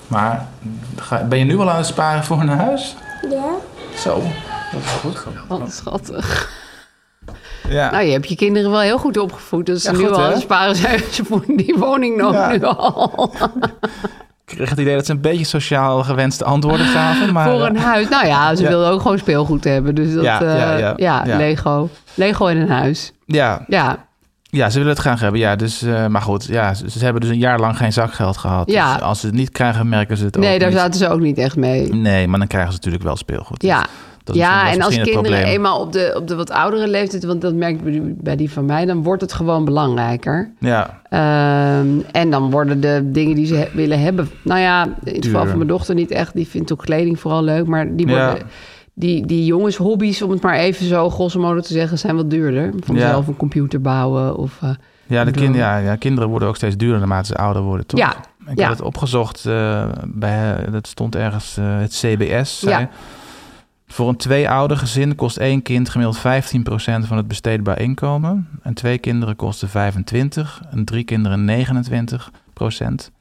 [SPEAKER 7] Maar ga- ben je nu al aan het sparen voor een huis?
[SPEAKER 8] ja.
[SPEAKER 7] Zo, dat is goed.
[SPEAKER 4] Wat schattig.
[SPEAKER 7] Ja.
[SPEAKER 4] Nou, je hebt je kinderen wel heel goed opgevoed. Dus
[SPEAKER 7] Ja,
[SPEAKER 4] nu
[SPEAKER 7] goed,
[SPEAKER 4] al
[SPEAKER 7] hè?
[SPEAKER 4] aan sparen zijn ze voor die woning nog
[SPEAKER 7] Ja.
[SPEAKER 4] nu al.
[SPEAKER 7] Ik kreeg het idee dat ze een beetje sociaal gewenste antwoorden gaven.
[SPEAKER 4] (laughs)
[SPEAKER 7] Maar,
[SPEAKER 4] voor een
[SPEAKER 7] eh,
[SPEAKER 4] huis. Nou ja, ze
[SPEAKER 7] Ja.
[SPEAKER 4] wilden ook gewoon speelgoed hebben. Dus dat,
[SPEAKER 7] Ja, ja,
[SPEAKER 4] eh,
[SPEAKER 7] ja, ja.
[SPEAKER 4] Lego. Lego en een huis.
[SPEAKER 7] ja,
[SPEAKER 4] Ja,
[SPEAKER 7] ja, ze willen het graag hebben. Ja, dus, eh, maar goed, ja, ze, ze hebben dus een jaar lang geen zakgeld gehad.
[SPEAKER 4] Ja.
[SPEAKER 7] Dus als ze het niet krijgen, merken ze het
[SPEAKER 4] nee,
[SPEAKER 7] ook
[SPEAKER 4] daar
[SPEAKER 7] niet.
[SPEAKER 4] zaten ze ook niet echt mee.
[SPEAKER 7] Nee, maar dan krijgen ze natuurlijk wel speelgoed. Dus
[SPEAKER 4] Ja.
[SPEAKER 7] dat is- dat
[SPEAKER 4] ja,
[SPEAKER 7] is
[SPEAKER 4] en als
[SPEAKER 7] misschien het
[SPEAKER 4] kinderen
[SPEAKER 7] probleem.
[SPEAKER 4] eenmaal Ah, op de, op de wat oudere leeftijd, want dat merk ik bij die- bij die van mij, dan wordt het gewoon belangrijker.
[SPEAKER 7] Ja,
[SPEAKER 4] Ehm, en dan worden de dingen die ze he- willen hebben. Nou ja, in het geval
[SPEAKER 7] Duurder.
[SPEAKER 4] van mijn dochter niet echt. Die vindt ook kleding vooral leuk. Maar die, worden,
[SPEAKER 7] Ja.
[SPEAKER 4] die, die jongens hobby's, om het maar even zo grosso modo te zeggen, zijn wat duurder. Vanzelf een computer bouwen of... eh,
[SPEAKER 7] ja, de
[SPEAKER 4] ik
[SPEAKER 7] kind,
[SPEAKER 4] bedoel-
[SPEAKER 7] ja, ja, kinderen worden ook steeds duurder naarmate ze ouder worden, toch?
[SPEAKER 4] Ja,
[SPEAKER 7] Ik
[SPEAKER 4] ja.
[SPEAKER 7] heb het opgezocht, eh, bij, dat stond ergens eh, het CBS. Zei,
[SPEAKER 4] Ja.
[SPEAKER 7] Voor een twee-ouder gezin kost één kind gemiddeld 15% van het besteedbaar inkomen. En twee kinderen kosten 25 en drie kinderen 29%.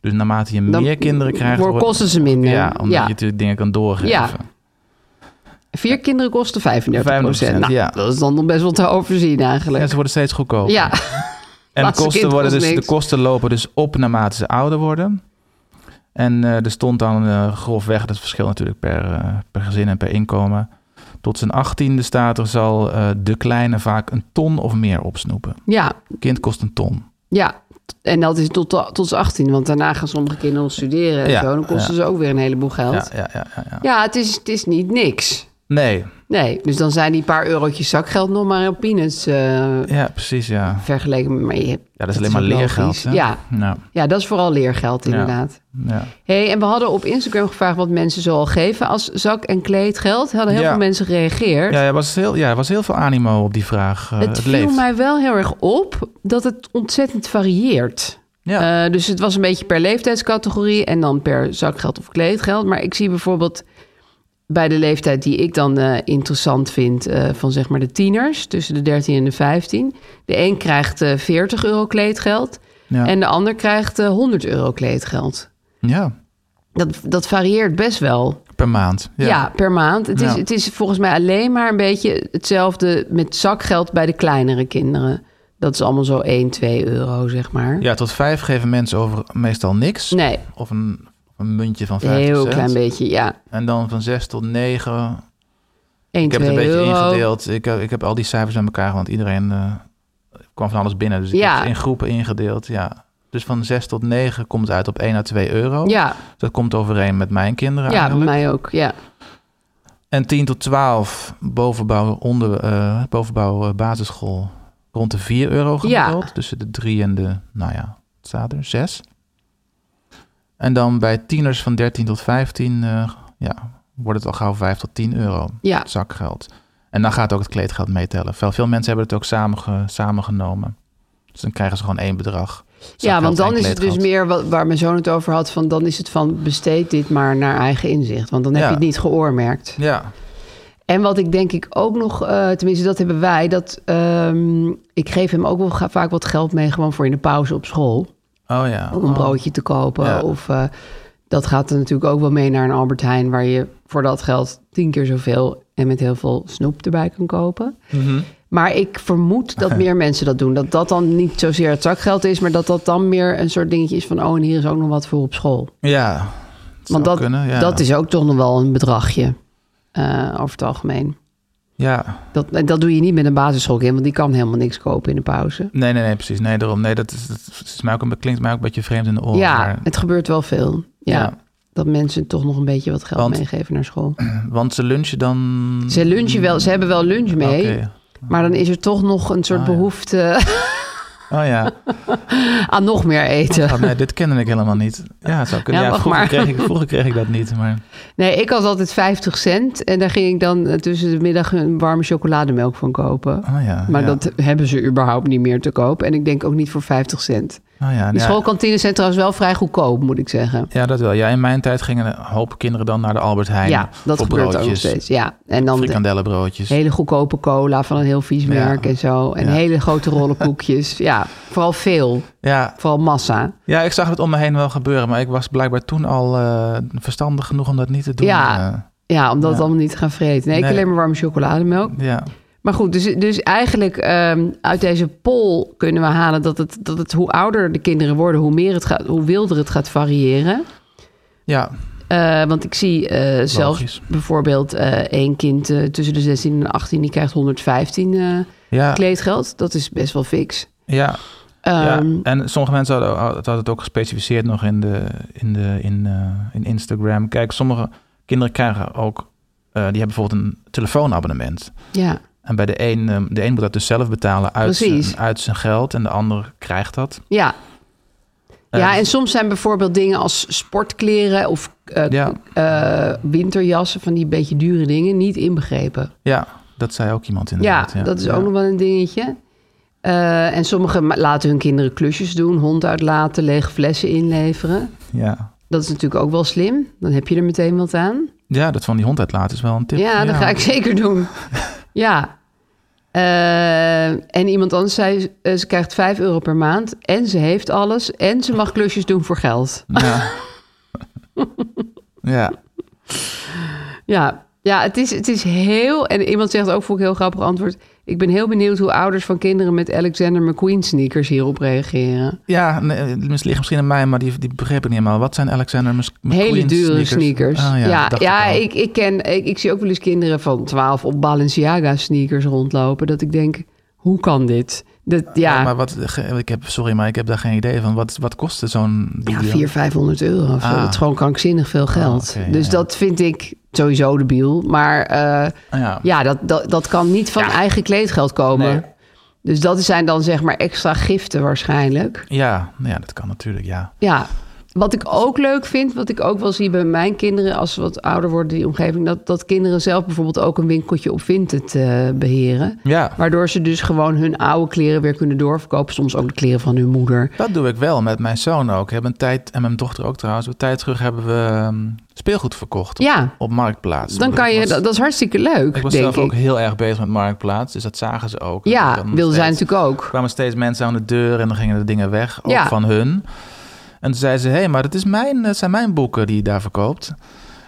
[SPEAKER 7] Dus naarmate je
[SPEAKER 4] Dan
[SPEAKER 7] meer kinderen krijgt...
[SPEAKER 4] worden-
[SPEAKER 7] wordt-
[SPEAKER 4] kosten ze minder.
[SPEAKER 7] Ja, omdat
[SPEAKER 4] Ja.
[SPEAKER 7] je natuurlijk dingen kan doorgeven.
[SPEAKER 4] Ja. Vier kinderen kosten 35
[SPEAKER 7] 35%,
[SPEAKER 4] Nou,
[SPEAKER 7] ja.
[SPEAKER 4] dat is dan nog best wel te overzien
[SPEAKER 7] Ja,
[SPEAKER 4] eigenlijk.
[SPEAKER 7] ze worden steeds goedkoper.
[SPEAKER 4] Ja,
[SPEAKER 7] En de
[SPEAKER 4] Laatste
[SPEAKER 7] kosten,
[SPEAKER 4] kind
[SPEAKER 7] worden
[SPEAKER 4] kost
[SPEAKER 7] dus, de
[SPEAKER 4] niks.
[SPEAKER 7] kosten lopen dus op naarmate ze ouder worden. En eh, er stond dan eh, grofweg, dat verschilt natuurlijk per, eh, per gezin en per inkomen. Tot zijn achttiende staat er zal eh, de kleine vaak een ton of meer opsnoepen.
[SPEAKER 4] ja,
[SPEAKER 7] Kind kost een ton.
[SPEAKER 4] ja. En dat is tot, de- tot z'n 18, want daarna gaan sommige kinderen nog studeren en
[SPEAKER 7] Ja,
[SPEAKER 4] zo. Dan kosten
[SPEAKER 7] ja.
[SPEAKER 4] ze ook weer een heleboel geld.
[SPEAKER 7] Ja,
[SPEAKER 4] Ja,
[SPEAKER 7] ja, ja, ja, ja.
[SPEAKER 4] het, is, het is niet niks.
[SPEAKER 7] Nee,
[SPEAKER 4] Nee, dus dan zijn die paar eurotjes zakgeld nog maar op peanuts eh,
[SPEAKER 7] ja, precies, ja.
[SPEAKER 4] vergeleken met... Maar je hebt-
[SPEAKER 7] Ja, dat is alleen maar
[SPEAKER 4] ook
[SPEAKER 7] leergeld.
[SPEAKER 4] logisch.
[SPEAKER 7] hè?
[SPEAKER 4] Ja.
[SPEAKER 7] ja.
[SPEAKER 4] ja, dat is vooral leergeld
[SPEAKER 7] Ja.
[SPEAKER 4] inderdaad.
[SPEAKER 7] ja.
[SPEAKER 4] Hey, en we hadden op Instagram gevraagd wat mensen zoal geven als zak- en kleedgeld. Hadden heel
[SPEAKER 7] Ja.
[SPEAKER 4] veel mensen gereageerd.
[SPEAKER 7] Ja, er was heel, ja, er was heel veel animo op die vraag. eh,
[SPEAKER 4] het
[SPEAKER 7] het
[SPEAKER 4] viel
[SPEAKER 7] leeft.
[SPEAKER 4] mij wel heel erg op dat het ontzettend varieert.
[SPEAKER 7] Ja.
[SPEAKER 4] Eh, dus het was een beetje per leeftijdscategorie en dan per zakgeld of kleedgeld. Maar ik zie bijvoorbeeld bij de leeftijd die ik dan eh, interessant vind, eh, van zeg maar de tieners, tussen de 13 en de 15. De een krijgt eh 40 euro kleedgeld
[SPEAKER 7] Ja.
[SPEAKER 4] en de ander krijgt eh, 100 euro kleedgeld.
[SPEAKER 7] ja,
[SPEAKER 4] Dat, dat varieert best wel.
[SPEAKER 7] per maand.
[SPEAKER 4] Ja, per maand. Het, is,
[SPEAKER 7] Ja.
[SPEAKER 4] het is volgens mij alleen maar een beetje hetzelfde met zakgeld bij de kleinere kinderen. Dat is allemaal zo 1, 2 euro, zeg maar.
[SPEAKER 7] Ja, tot vijf geven mensen over meestal niks.
[SPEAKER 4] Nee,
[SPEAKER 7] Of een, een muntje van
[SPEAKER 4] een
[SPEAKER 7] 50
[SPEAKER 4] heel
[SPEAKER 7] cent.
[SPEAKER 4] klein beetje, ja.
[SPEAKER 7] En dan van 6 tot 9.
[SPEAKER 4] 1,
[SPEAKER 7] Ik heb het
[SPEAKER 4] 2
[SPEAKER 7] een beetje
[SPEAKER 4] euro.
[SPEAKER 7] ingedeeld. Ik heb, ik heb al die cijfers aan elkaar, want iedereen eh, kwam van alles binnen. Dus ik
[SPEAKER 4] Ja.
[SPEAKER 7] heb ze in groepen ingedeeld. Ja. Dus van 6 tot 9 komt het uit op 1 à 2 euro.
[SPEAKER 4] Ja,
[SPEAKER 7] Dat komt overeen met mijn kinderen
[SPEAKER 4] ja bij
[SPEAKER 7] eigenlijk.
[SPEAKER 4] mij ook, ja.
[SPEAKER 7] En 10 tot 12 bovenbouw, onder, eh, bovenbouw eh, basisschool rond de 4 euro
[SPEAKER 4] Ja.
[SPEAKER 7] gemiddeld. Tussen de 3 en de, nou ja, wat staat er? 6. En dan bij tieners van 13 tot 15, eh, ja, wordt het al gauw 5 tot 10 euro
[SPEAKER 4] Ja.
[SPEAKER 7] zakgeld. En dan gaat ook het kleedgeld meetellen. Veel, veel mensen hebben het ook samenge, samengenomen. Dus dan krijgen ze gewoon één bedrag.
[SPEAKER 4] Ja,
[SPEAKER 7] zakgeld
[SPEAKER 4] want dan
[SPEAKER 7] en
[SPEAKER 4] is het dus
[SPEAKER 7] kleedgeld.
[SPEAKER 4] meer wat, waar mijn zoon het over had... van dan is het van besteed dit maar naar eigen inzicht. Want dan heb
[SPEAKER 7] Ja.
[SPEAKER 4] je het niet geoormerkt.
[SPEAKER 7] Ja,
[SPEAKER 4] En wat ik denk ik ook nog, eh, tenminste dat hebben wij... dat ehm, ik geef hem ook wel ga- vaak wat geld mee... gewoon voor in de pauze op school.
[SPEAKER 7] oh ja.
[SPEAKER 4] om een broodje te kopen.
[SPEAKER 7] Ja.
[SPEAKER 4] Of eh, dat gaat er natuurlijk ook wel mee naar een Albert Heijn, waar je voor dat geld tien keer zoveel en met heel veel snoep erbij kan kopen.
[SPEAKER 7] Mhm.
[SPEAKER 4] Maar ik vermoed dat meer mensen dat doen. Dat dat dan niet zozeer het zakgeld is, maar dat dat dan meer een soort dingetje is van: oh, en hier is ook nog wat voor op school.
[SPEAKER 7] Ja, het zou
[SPEAKER 4] Want dat,
[SPEAKER 7] kunnen, ja.
[SPEAKER 4] dat is ook toch nog wel een bedragje eh, over het algemeen.
[SPEAKER 7] Ja,
[SPEAKER 4] Dat, en dat doe je niet met een basisschoolkind, want die kan helemaal niks kopen in de pauze.
[SPEAKER 7] Nee, nee, nee, precies. Nee, daarom. Nee, dat, is, dat is mij ook een, klinkt mij ook een beetje vreemd in de oren.
[SPEAKER 4] ja,
[SPEAKER 7] maar-
[SPEAKER 4] het gebeurt wel veel. Ja,
[SPEAKER 7] Ja.
[SPEAKER 4] Dat mensen toch nog een beetje wat geld
[SPEAKER 7] Want-
[SPEAKER 4] meegeven naar school.
[SPEAKER 7] want ze lunchen dan...
[SPEAKER 4] Ze lunchen wel, ze hebben wel lunch mee.
[SPEAKER 7] Oké.
[SPEAKER 4] Maar dan is er toch nog een soort
[SPEAKER 7] Ah, ja.
[SPEAKER 4] behoefte (laughs)
[SPEAKER 7] Oh ja.
[SPEAKER 4] Aan nog meer eten.
[SPEAKER 7] Oh, nee, dit kende ik helemaal niet. Ja, het zou kunnen.
[SPEAKER 4] Ja,
[SPEAKER 7] Ja,
[SPEAKER 4] wacht
[SPEAKER 7] vroeger,
[SPEAKER 4] maar.
[SPEAKER 7] Kreeg ik, vroeger kreeg ik dat niet. Maar
[SPEAKER 4] Nee, ik had altijd 50 cent. En daar ging ik dan eh, tussen de middag een warme chocolademelk van kopen.
[SPEAKER 7] Oh ja,
[SPEAKER 4] maar
[SPEAKER 7] ja.
[SPEAKER 4] dat hebben ze überhaupt niet meer te koop. En ik denk ook niet voor 50 cent.
[SPEAKER 7] oh ja,
[SPEAKER 4] Die
[SPEAKER 7] ja.
[SPEAKER 4] schoolkantines zijn trouwens wel vrij goedkoop, moet ik zeggen.
[SPEAKER 7] ja, dat wel. Ja, in mijn tijd gingen een hoop kinderen dan naar de Albert Heijn.
[SPEAKER 4] Ja, dat
[SPEAKER 7] voor
[SPEAKER 4] gebeurt ook nog
[SPEAKER 7] broodjes,
[SPEAKER 4] steeds, ja. En dan de-
[SPEAKER 7] frikandellenbroodjes.
[SPEAKER 4] Hele goedkope cola van een heel vies merk en zo. Eh, En hele grote rollen koekjes. ja, vooral veel.
[SPEAKER 7] Ja.
[SPEAKER 4] Vooral massa.
[SPEAKER 7] Ja, ik zag het om me heen wel gebeuren, maar ik was blijkbaar toen al eh, verstandig genoeg om dat niet te doen.
[SPEAKER 4] ja,
[SPEAKER 7] eh.
[SPEAKER 4] ja, om dat
[SPEAKER 7] ja.
[SPEAKER 4] allemaal niet te gaan vreten. Nee,
[SPEAKER 7] Nee.
[SPEAKER 4] ik alleen maar warme chocolademelk.
[SPEAKER 7] Eh, ja.
[SPEAKER 4] Maar goed, dus, dus eigenlijk ehm, uit deze poll kunnen we halen dat het, dat het hoe ouder de kinderen worden, hoe meer het gaat, hoe wilder het gaat variëren.
[SPEAKER 7] Ja.
[SPEAKER 4] Eh, want ik zie eh zelfs bijvoorbeeld eh, één kind eh, tussen de 16 en 18, die krijgt 115 eh,
[SPEAKER 7] Ja.
[SPEAKER 4] kleedgeld. Dat is best wel fix.
[SPEAKER 7] Ja.
[SPEAKER 4] Ehm,
[SPEAKER 7] ja. En sommige mensen hadden, hadden het ook gespecificeerd nog in, de, in, de, in, eh, in Instagram. Kijk, sommige kinderen krijgen ook, eh, die hebben bijvoorbeeld een telefoonabonnement.
[SPEAKER 4] Ja.
[SPEAKER 7] En bij de een, eh, de een moet dat dus zelf betalen uit,
[SPEAKER 4] Precies.
[SPEAKER 7] zijn, uit zijn geld en de ander krijgt dat.
[SPEAKER 4] Ja.
[SPEAKER 7] Eh,
[SPEAKER 4] ja, en soms zijn bijvoorbeeld dingen als sportkleren of eh,
[SPEAKER 7] Ja.
[SPEAKER 4] eh, winterjassen, van die beetje dure dingen, niet inbegrepen.
[SPEAKER 7] Ja, dat zei ook iemand
[SPEAKER 4] Ja,
[SPEAKER 7] inderdaad.
[SPEAKER 4] dat is
[SPEAKER 7] Ja.
[SPEAKER 4] ook nog wel een dingetje. Eh, en sommigen ma- laten hun kinderen klusjes doen, hond uitlaten, lege flessen inleveren.
[SPEAKER 7] Ja.
[SPEAKER 4] Dat is natuurlijk ook wel slim. Dan heb je er meteen wat aan.
[SPEAKER 7] ja, dat van die hond uitlaten is wel een tip.
[SPEAKER 4] ja, dat ga ik (laughs) zeker doen. ja. Eh, en iemand anders zei, eh, ze krijgt 5 euro per maand en ze heeft alles en ze mag klusjes doen voor geld. (laughs)
[SPEAKER 7] Ja. ja.
[SPEAKER 4] Ja, ja het, is, het is heel. En iemand zegt ook, vond ik een heel grappig antwoord. Ik ben heel benieuwd hoe ouders van kinderen met Alexander McQueen sneakers hierop reageren.
[SPEAKER 7] Ja, nee, het mis- ligt misschien aan mij, maar die, die begreep ik niet helemaal. Wat zijn Alexander Mc- McQueen
[SPEAKER 4] Hele dure sneakers.
[SPEAKER 7] Ah, ja,
[SPEAKER 4] ja,
[SPEAKER 7] dacht
[SPEAKER 4] ja,
[SPEAKER 7] ik al.
[SPEAKER 4] ik, ik, ken, ik, ik zie ook wel eens kinderen van 12 op Balenciaga sneakers rondlopen. Dat ik denk, hoe kan dit? Dat, ja,
[SPEAKER 7] Ja, maar wat, ge- ik heb, sorry, maar ik heb daar geen idee van. Wat, wat kostte zo'n...
[SPEAKER 4] ja, 400, 500 euro. of zo.
[SPEAKER 7] Ah.
[SPEAKER 4] Dat is gewoon krankzinnig veel geld.
[SPEAKER 7] oké, ja,
[SPEAKER 4] dus
[SPEAKER 7] ja.
[SPEAKER 4] dat vind ik sowieso debiel. Maar eh,
[SPEAKER 7] ja,
[SPEAKER 4] dat, dat, dat kan niet van eigen kleedgeld komen. Dus dat zijn dan zeg maar extra giften waarschijnlijk.
[SPEAKER 7] Ja, nou ja, dat kan natuurlijk, ja.
[SPEAKER 4] Ja, wat ik ook leuk vind, wat ik ook wel zie bij mijn kinderen als ze wat ouder worden, die omgeving, dat, dat kinderen zelf bijvoorbeeld ook een winkeltje op Vinted eh, beheren.
[SPEAKER 7] Ja.
[SPEAKER 4] Waardoor ze dus gewoon hun oude kleren weer kunnen doorverkopen, soms ook de kleren van hun moeder.
[SPEAKER 7] Dat doe ik wel met mijn zoon ook. We hebben een tijd, en mijn dochter ook trouwens, een tijd terug hebben we ehm, speelgoed verkocht op,
[SPEAKER 4] Ja.
[SPEAKER 7] op Marktplaats.
[SPEAKER 4] Dan kan
[SPEAKER 7] Ik
[SPEAKER 4] je,
[SPEAKER 7] was-
[SPEAKER 4] dat, dat is hartstikke leuk,
[SPEAKER 7] Ik was
[SPEAKER 4] denk
[SPEAKER 7] zelf
[SPEAKER 4] ik.
[SPEAKER 7] ook heel erg bezig met Marktplaats, dus dat zagen ze ook.
[SPEAKER 4] Ja,
[SPEAKER 7] Dan
[SPEAKER 4] wilden zij
[SPEAKER 7] steeds-
[SPEAKER 4] natuurlijk ook.
[SPEAKER 7] kwamen steeds mensen aan de deur en dan gingen de dingen weg, ook
[SPEAKER 4] Ja.
[SPEAKER 7] van hun. En toen zei ze, hé, hey, maar dat, is mijn, dat zijn mijn boeken die je daar verkoopt.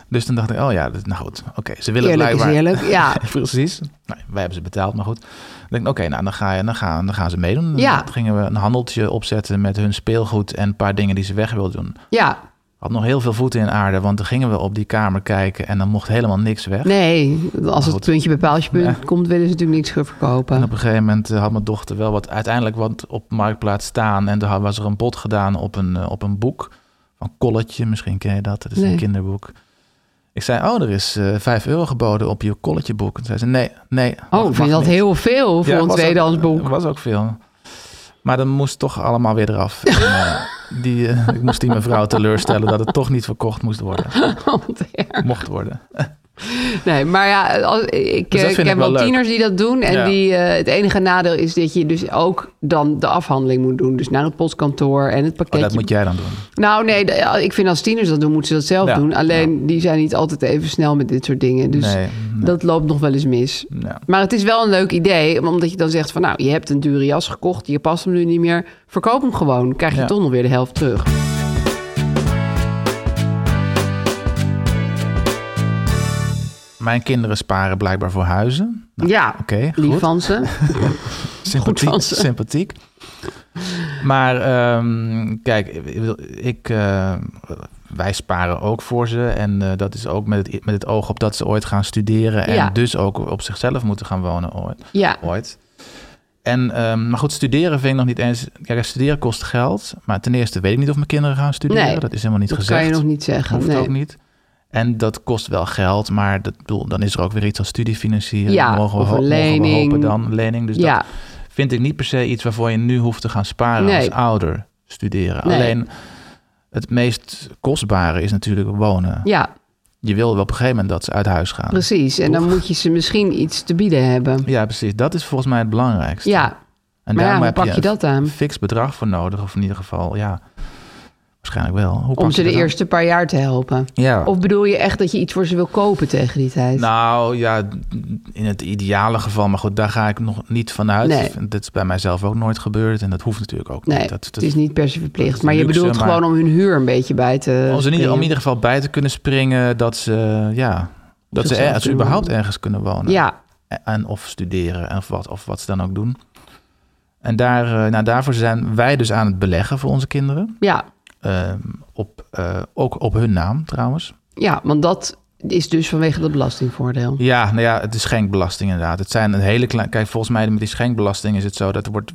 [SPEAKER 7] Dus toen dacht ik, oh ja, dat, nou goed, oké, ze willen
[SPEAKER 4] Eerlijk is
[SPEAKER 7] blijkbaar...
[SPEAKER 4] eerlijk,
[SPEAKER 7] (laughs)
[SPEAKER 4] ja.
[SPEAKER 7] Precies. Nou, wij hebben ze betaald, maar goed. Dan denk ik, oké, nou, dan, ga je, dan, gaan, dan gaan ze meedoen. Dan
[SPEAKER 4] Ja.
[SPEAKER 7] gingen we een handeltje opzetten met hun speelgoed en een paar dingen die ze weg wilden doen.
[SPEAKER 4] Ja,
[SPEAKER 7] Had nog heel veel voeten in aarde, want dan gingen we op die kamer kijken en dan mocht helemaal niks weg.
[SPEAKER 4] nee, als het puntje bij paaltje punt komt, willen ze natuurlijk niks voor verkopen.
[SPEAKER 7] En op een gegeven moment eh, had mijn dochter wel wat uiteindelijk wat op marktplaats staan. En daar was er een bod gedaan op een, eh, op een boek. Van Kolletje, misschien ken je dat. Dat is
[SPEAKER 4] Nee.
[SPEAKER 7] een kinderboek. Ik zei, oh, er is eh 5 euro geboden op je Kolletje boek. En zei ze, nee, nee.
[SPEAKER 4] Oh, ik vind dat heel veel voor een tweedehands boek.
[SPEAKER 7] was ook veel. Maar dat moest toch allemaal weer eraf. En, eh, die, eh, ik moest die mevrouw teleurstellen dat het toch niet verkocht moest worden. Mocht worden.
[SPEAKER 4] Nee, maar ja, als, ik,
[SPEAKER 7] Dus dat
[SPEAKER 4] eh,
[SPEAKER 7] vind
[SPEAKER 4] ken
[SPEAKER 7] ik wel
[SPEAKER 4] wel
[SPEAKER 7] leuk.
[SPEAKER 4] tieners die dat doen. En
[SPEAKER 7] Ja.
[SPEAKER 4] die, eh, het enige nadeel is dat je dus ook dan de afhandeling moet doen. Dus naar het postkantoor en het
[SPEAKER 7] Oh,
[SPEAKER 4] pakketje.
[SPEAKER 7] dat moet jij dan doen.
[SPEAKER 4] Nou nee, de- ja, ik vind als tieners dat doen, moeten ze dat zelf
[SPEAKER 7] Ja,
[SPEAKER 4] doen. Alleen die zijn niet altijd even snel met dit soort dingen. Dus
[SPEAKER 7] Nee,
[SPEAKER 4] dat loopt nog wel eens mis. Maar het is wel een leuk idee, omdat je dan zegt van... nou, je hebt een dure jas gekocht, je past hem nu niet meer. Verkoop hem gewoon, krijg je
[SPEAKER 7] Ja.
[SPEAKER 4] toch nog weer de helft terug.
[SPEAKER 7] Mijn kinderen sparen blijkbaar voor huizen. Nou,
[SPEAKER 4] ja,
[SPEAKER 7] Oké,
[SPEAKER 4] lief
[SPEAKER 7] goed.
[SPEAKER 4] van ze.
[SPEAKER 7] sympathiek.
[SPEAKER 4] van ze.
[SPEAKER 7] sympathiek. Maar ehm, kijk, ik wil- ik, eh, wij sparen ook voor ze. En eh, dat is ook met het, met het oog op dat ze ooit gaan studeren. En
[SPEAKER 4] Ja.
[SPEAKER 7] dus ook op zichzelf moeten gaan wonen ooit.
[SPEAKER 4] Ja.
[SPEAKER 7] ooit. En, ehm, maar goed, studeren vind ik nog niet eens... Kijk, studeren kost geld. Maar ten eerste weet ik niet of mijn kinderen gaan studeren.
[SPEAKER 4] Nee,
[SPEAKER 7] dat is helemaal niet
[SPEAKER 4] dat
[SPEAKER 7] gezegd.
[SPEAKER 4] kan je nog niet zeggen,
[SPEAKER 7] Hoeft
[SPEAKER 4] nee.
[SPEAKER 7] ook niet. En dat kost wel geld, maar dat, ik bedoel, dan is er ook weer iets als studiefinanciering.
[SPEAKER 4] Ja,
[SPEAKER 7] mogen we,
[SPEAKER 4] of een
[SPEAKER 7] ho- mogen we
[SPEAKER 4] lening.
[SPEAKER 7] hopen dan, lening. Dus
[SPEAKER 4] Ja.
[SPEAKER 7] dat vind ik niet per se iets waarvoor je nu hoeft te gaan sparen
[SPEAKER 4] Nee.
[SPEAKER 7] als ouder studeren.
[SPEAKER 4] Nee.
[SPEAKER 7] Alleen het meest kostbare is natuurlijk wonen.
[SPEAKER 4] Ja,
[SPEAKER 7] Je wil wel op een gegeven moment dat ze uit huis gaan.
[SPEAKER 4] precies. En dan moet je ze misschien iets te bieden hebben.
[SPEAKER 7] Ja, precies. Dat is volgens mij het belangrijkste.
[SPEAKER 4] Ja,
[SPEAKER 7] En
[SPEAKER 4] maar ja,
[SPEAKER 7] daarom
[SPEAKER 4] hoe
[SPEAKER 7] heb
[SPEAKER 4] pak
[SPEAKER 7] je,
[SPEAKER 4] je dat aan?
[SPEAKER 7] een fix bedrag voor nodig. Of in ieder geval, ja, waarschijnlijk wel. Hoe pak
[SPEAKER 4] Om
[SPEAKER 7] je
[SPEAKER 4] ze de
[SPEAKER 7] dat aan?
[SPEAKER 4] eerste paar jaar te helpen.
[SPEAKER 7] Ja.
[SPEAKER 4] Of bedoel je echt dat je iets voor ze wil kopen tegen die tijd?
[SPEAKER 7] Nou ja, in het ideale geval. Maar goed, daar ga ik nog niet vanuit.
[SPEAKER 4] Nee.
[SPEAKER 7] Dat is bij mijzelf ook nooit gebeurd. En dat hoeft natuurlijk ook
[SPEAKER 4] nee,
[SPEAKER 7] niet. Dat,
[SPEAKER 4] het is niet per se
[SPEAKER 7] dat
[SPEAKER 4] verplicht.
[SPEAKER 7] is
[SPEAKER 4] Maar je
[SPEAKER 7] luxe,
[SPEAKER 4] bedoelt
[SPEAKER 7] maar-
[SPEAKER 4] gewoon om hun huur een beetje bij te...
[SPEAKER 7] Om, ze in ieder, om in
[SPEAKER 4] springen.
[SPEAKER 7] ieder geval bij te kunnen springen. Dat ze, ja, dat ze,
[SPEAKER 4] Zichzelf
[SPEAKER 7] er, dat ze
[SPEAKER 4] kunnen
[SPEAKER 7] überhaupt
[SPEAKER 4] wonen.
[SPEAKER 7] ergens kunnen wonen.
[SPEAKER 4] Ja.
[SPEAKER 7] En of studeren en of wat, of wat ze dan ook doen. En daar, eh, nou, daarvoor zijn wij dus aan het beleggen voor onze kinderen.
[SPEAKER 4] Ja,
[SPEAKER 7] Ehm, op, eh, ook op hun naam trouwens.
[SPEAKER 4] ja, want dat is dus vanwege dat belastingvoordeel.
[SPEAKER 7] Ja, nou ja, het is schenkbelasting inderdaad. Het zijn een hele klein. Kijk, volgens mij met die schenkbelasting is het zo dat het wordt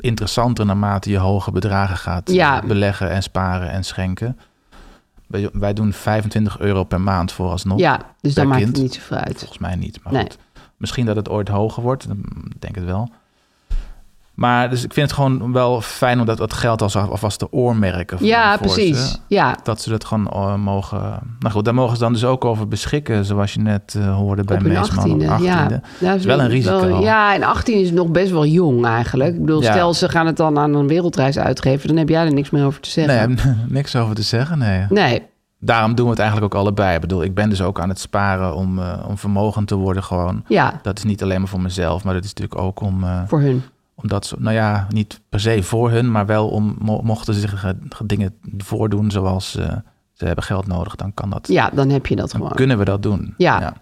[SPEAKER 7] interessanter naarmate je hoge bedragen gaat eh,
[SPEAKER 4] Ja.
[SPEAKER 7] beleggen en sparen en schenken. Wij- Wij doen 25 euro per maand vooralsnog.
[SPEAKER 4] Ja, dus
[SPEAKER 7] per
[SPEAKER 4] dan maakt
[SPEAKER 7] kind.
[SPEAKER 4] het niet zoveel uit.
[SPEAKER 7] Volgens mij niet. Maar
[SPEAKER 4] Nee.
[SPEAKER 7] goed, misschien dat het ooit hoger wordt. dan denk het wel. Maar dus ik vind het gewoon wel fijn om dat, dat geld als alvast te oormerken. voor-
[SPEAKER 4] Ja,
[SPEAKER 7] voor
[SPEAKER 4] precies.
[SPEAKER 7] ze.
[SPEAKER 4] Ja.
[SPEAKER 7] Dat ze dat gewoon eh, mogen. Nou goed, daar mogen ze dan dus ook over beschikken. Zoals je net eh, hoorde bij
[SPEAKER 4] Op hun
[SPEAKER 7] Meesman. Op
[SPEAKER 4] 18e, ja.
[SPEAKER 7] 18e. Dat is wel een risico.
[SPEAKER 4] ja, en 18 is nog best wel jong eigenlijk. Ik bedoel,
[SPEAKER 7] Ja.
[SPEAKER 4] stel ze gaan het dan aan een wereldreis uitgeven... dan heb jij er niks meer over te
[SPEAKER 7] nee,
[SPEAKER 4] zeggen.
[SPEAKER 7] heb (laughs) niks over te zeggen. Nee.
[SPEAKER 4] Nee.
[SPEAKER 7] Daarom doen we het eigenlijk ook allebei. Ik bedoel, ik ben dus ook aan het sparen om, eh, om vermogend te worden gewoon.
[SPEAKER 4] Ja.
[SPEAKER 7] Dat is niet alleen maar voor mezelf, maar dat is natuurlijk ook om... eh,
[SPEAKER 4] Voor hun.
[SPEAKER 7] Om dat soort, nou ja, niet per se voor hun, maar wel om, mo- mochten ze zich ge- ge- dingen voordoen zoals eh, ze hebben geld nodig, dan kan dat.
[SPEAKER 4] Ja, dan heb je dat gewoon.
[SPEAKER 7] Kunnen we dat doen?
[SPEAKER 4] Ja.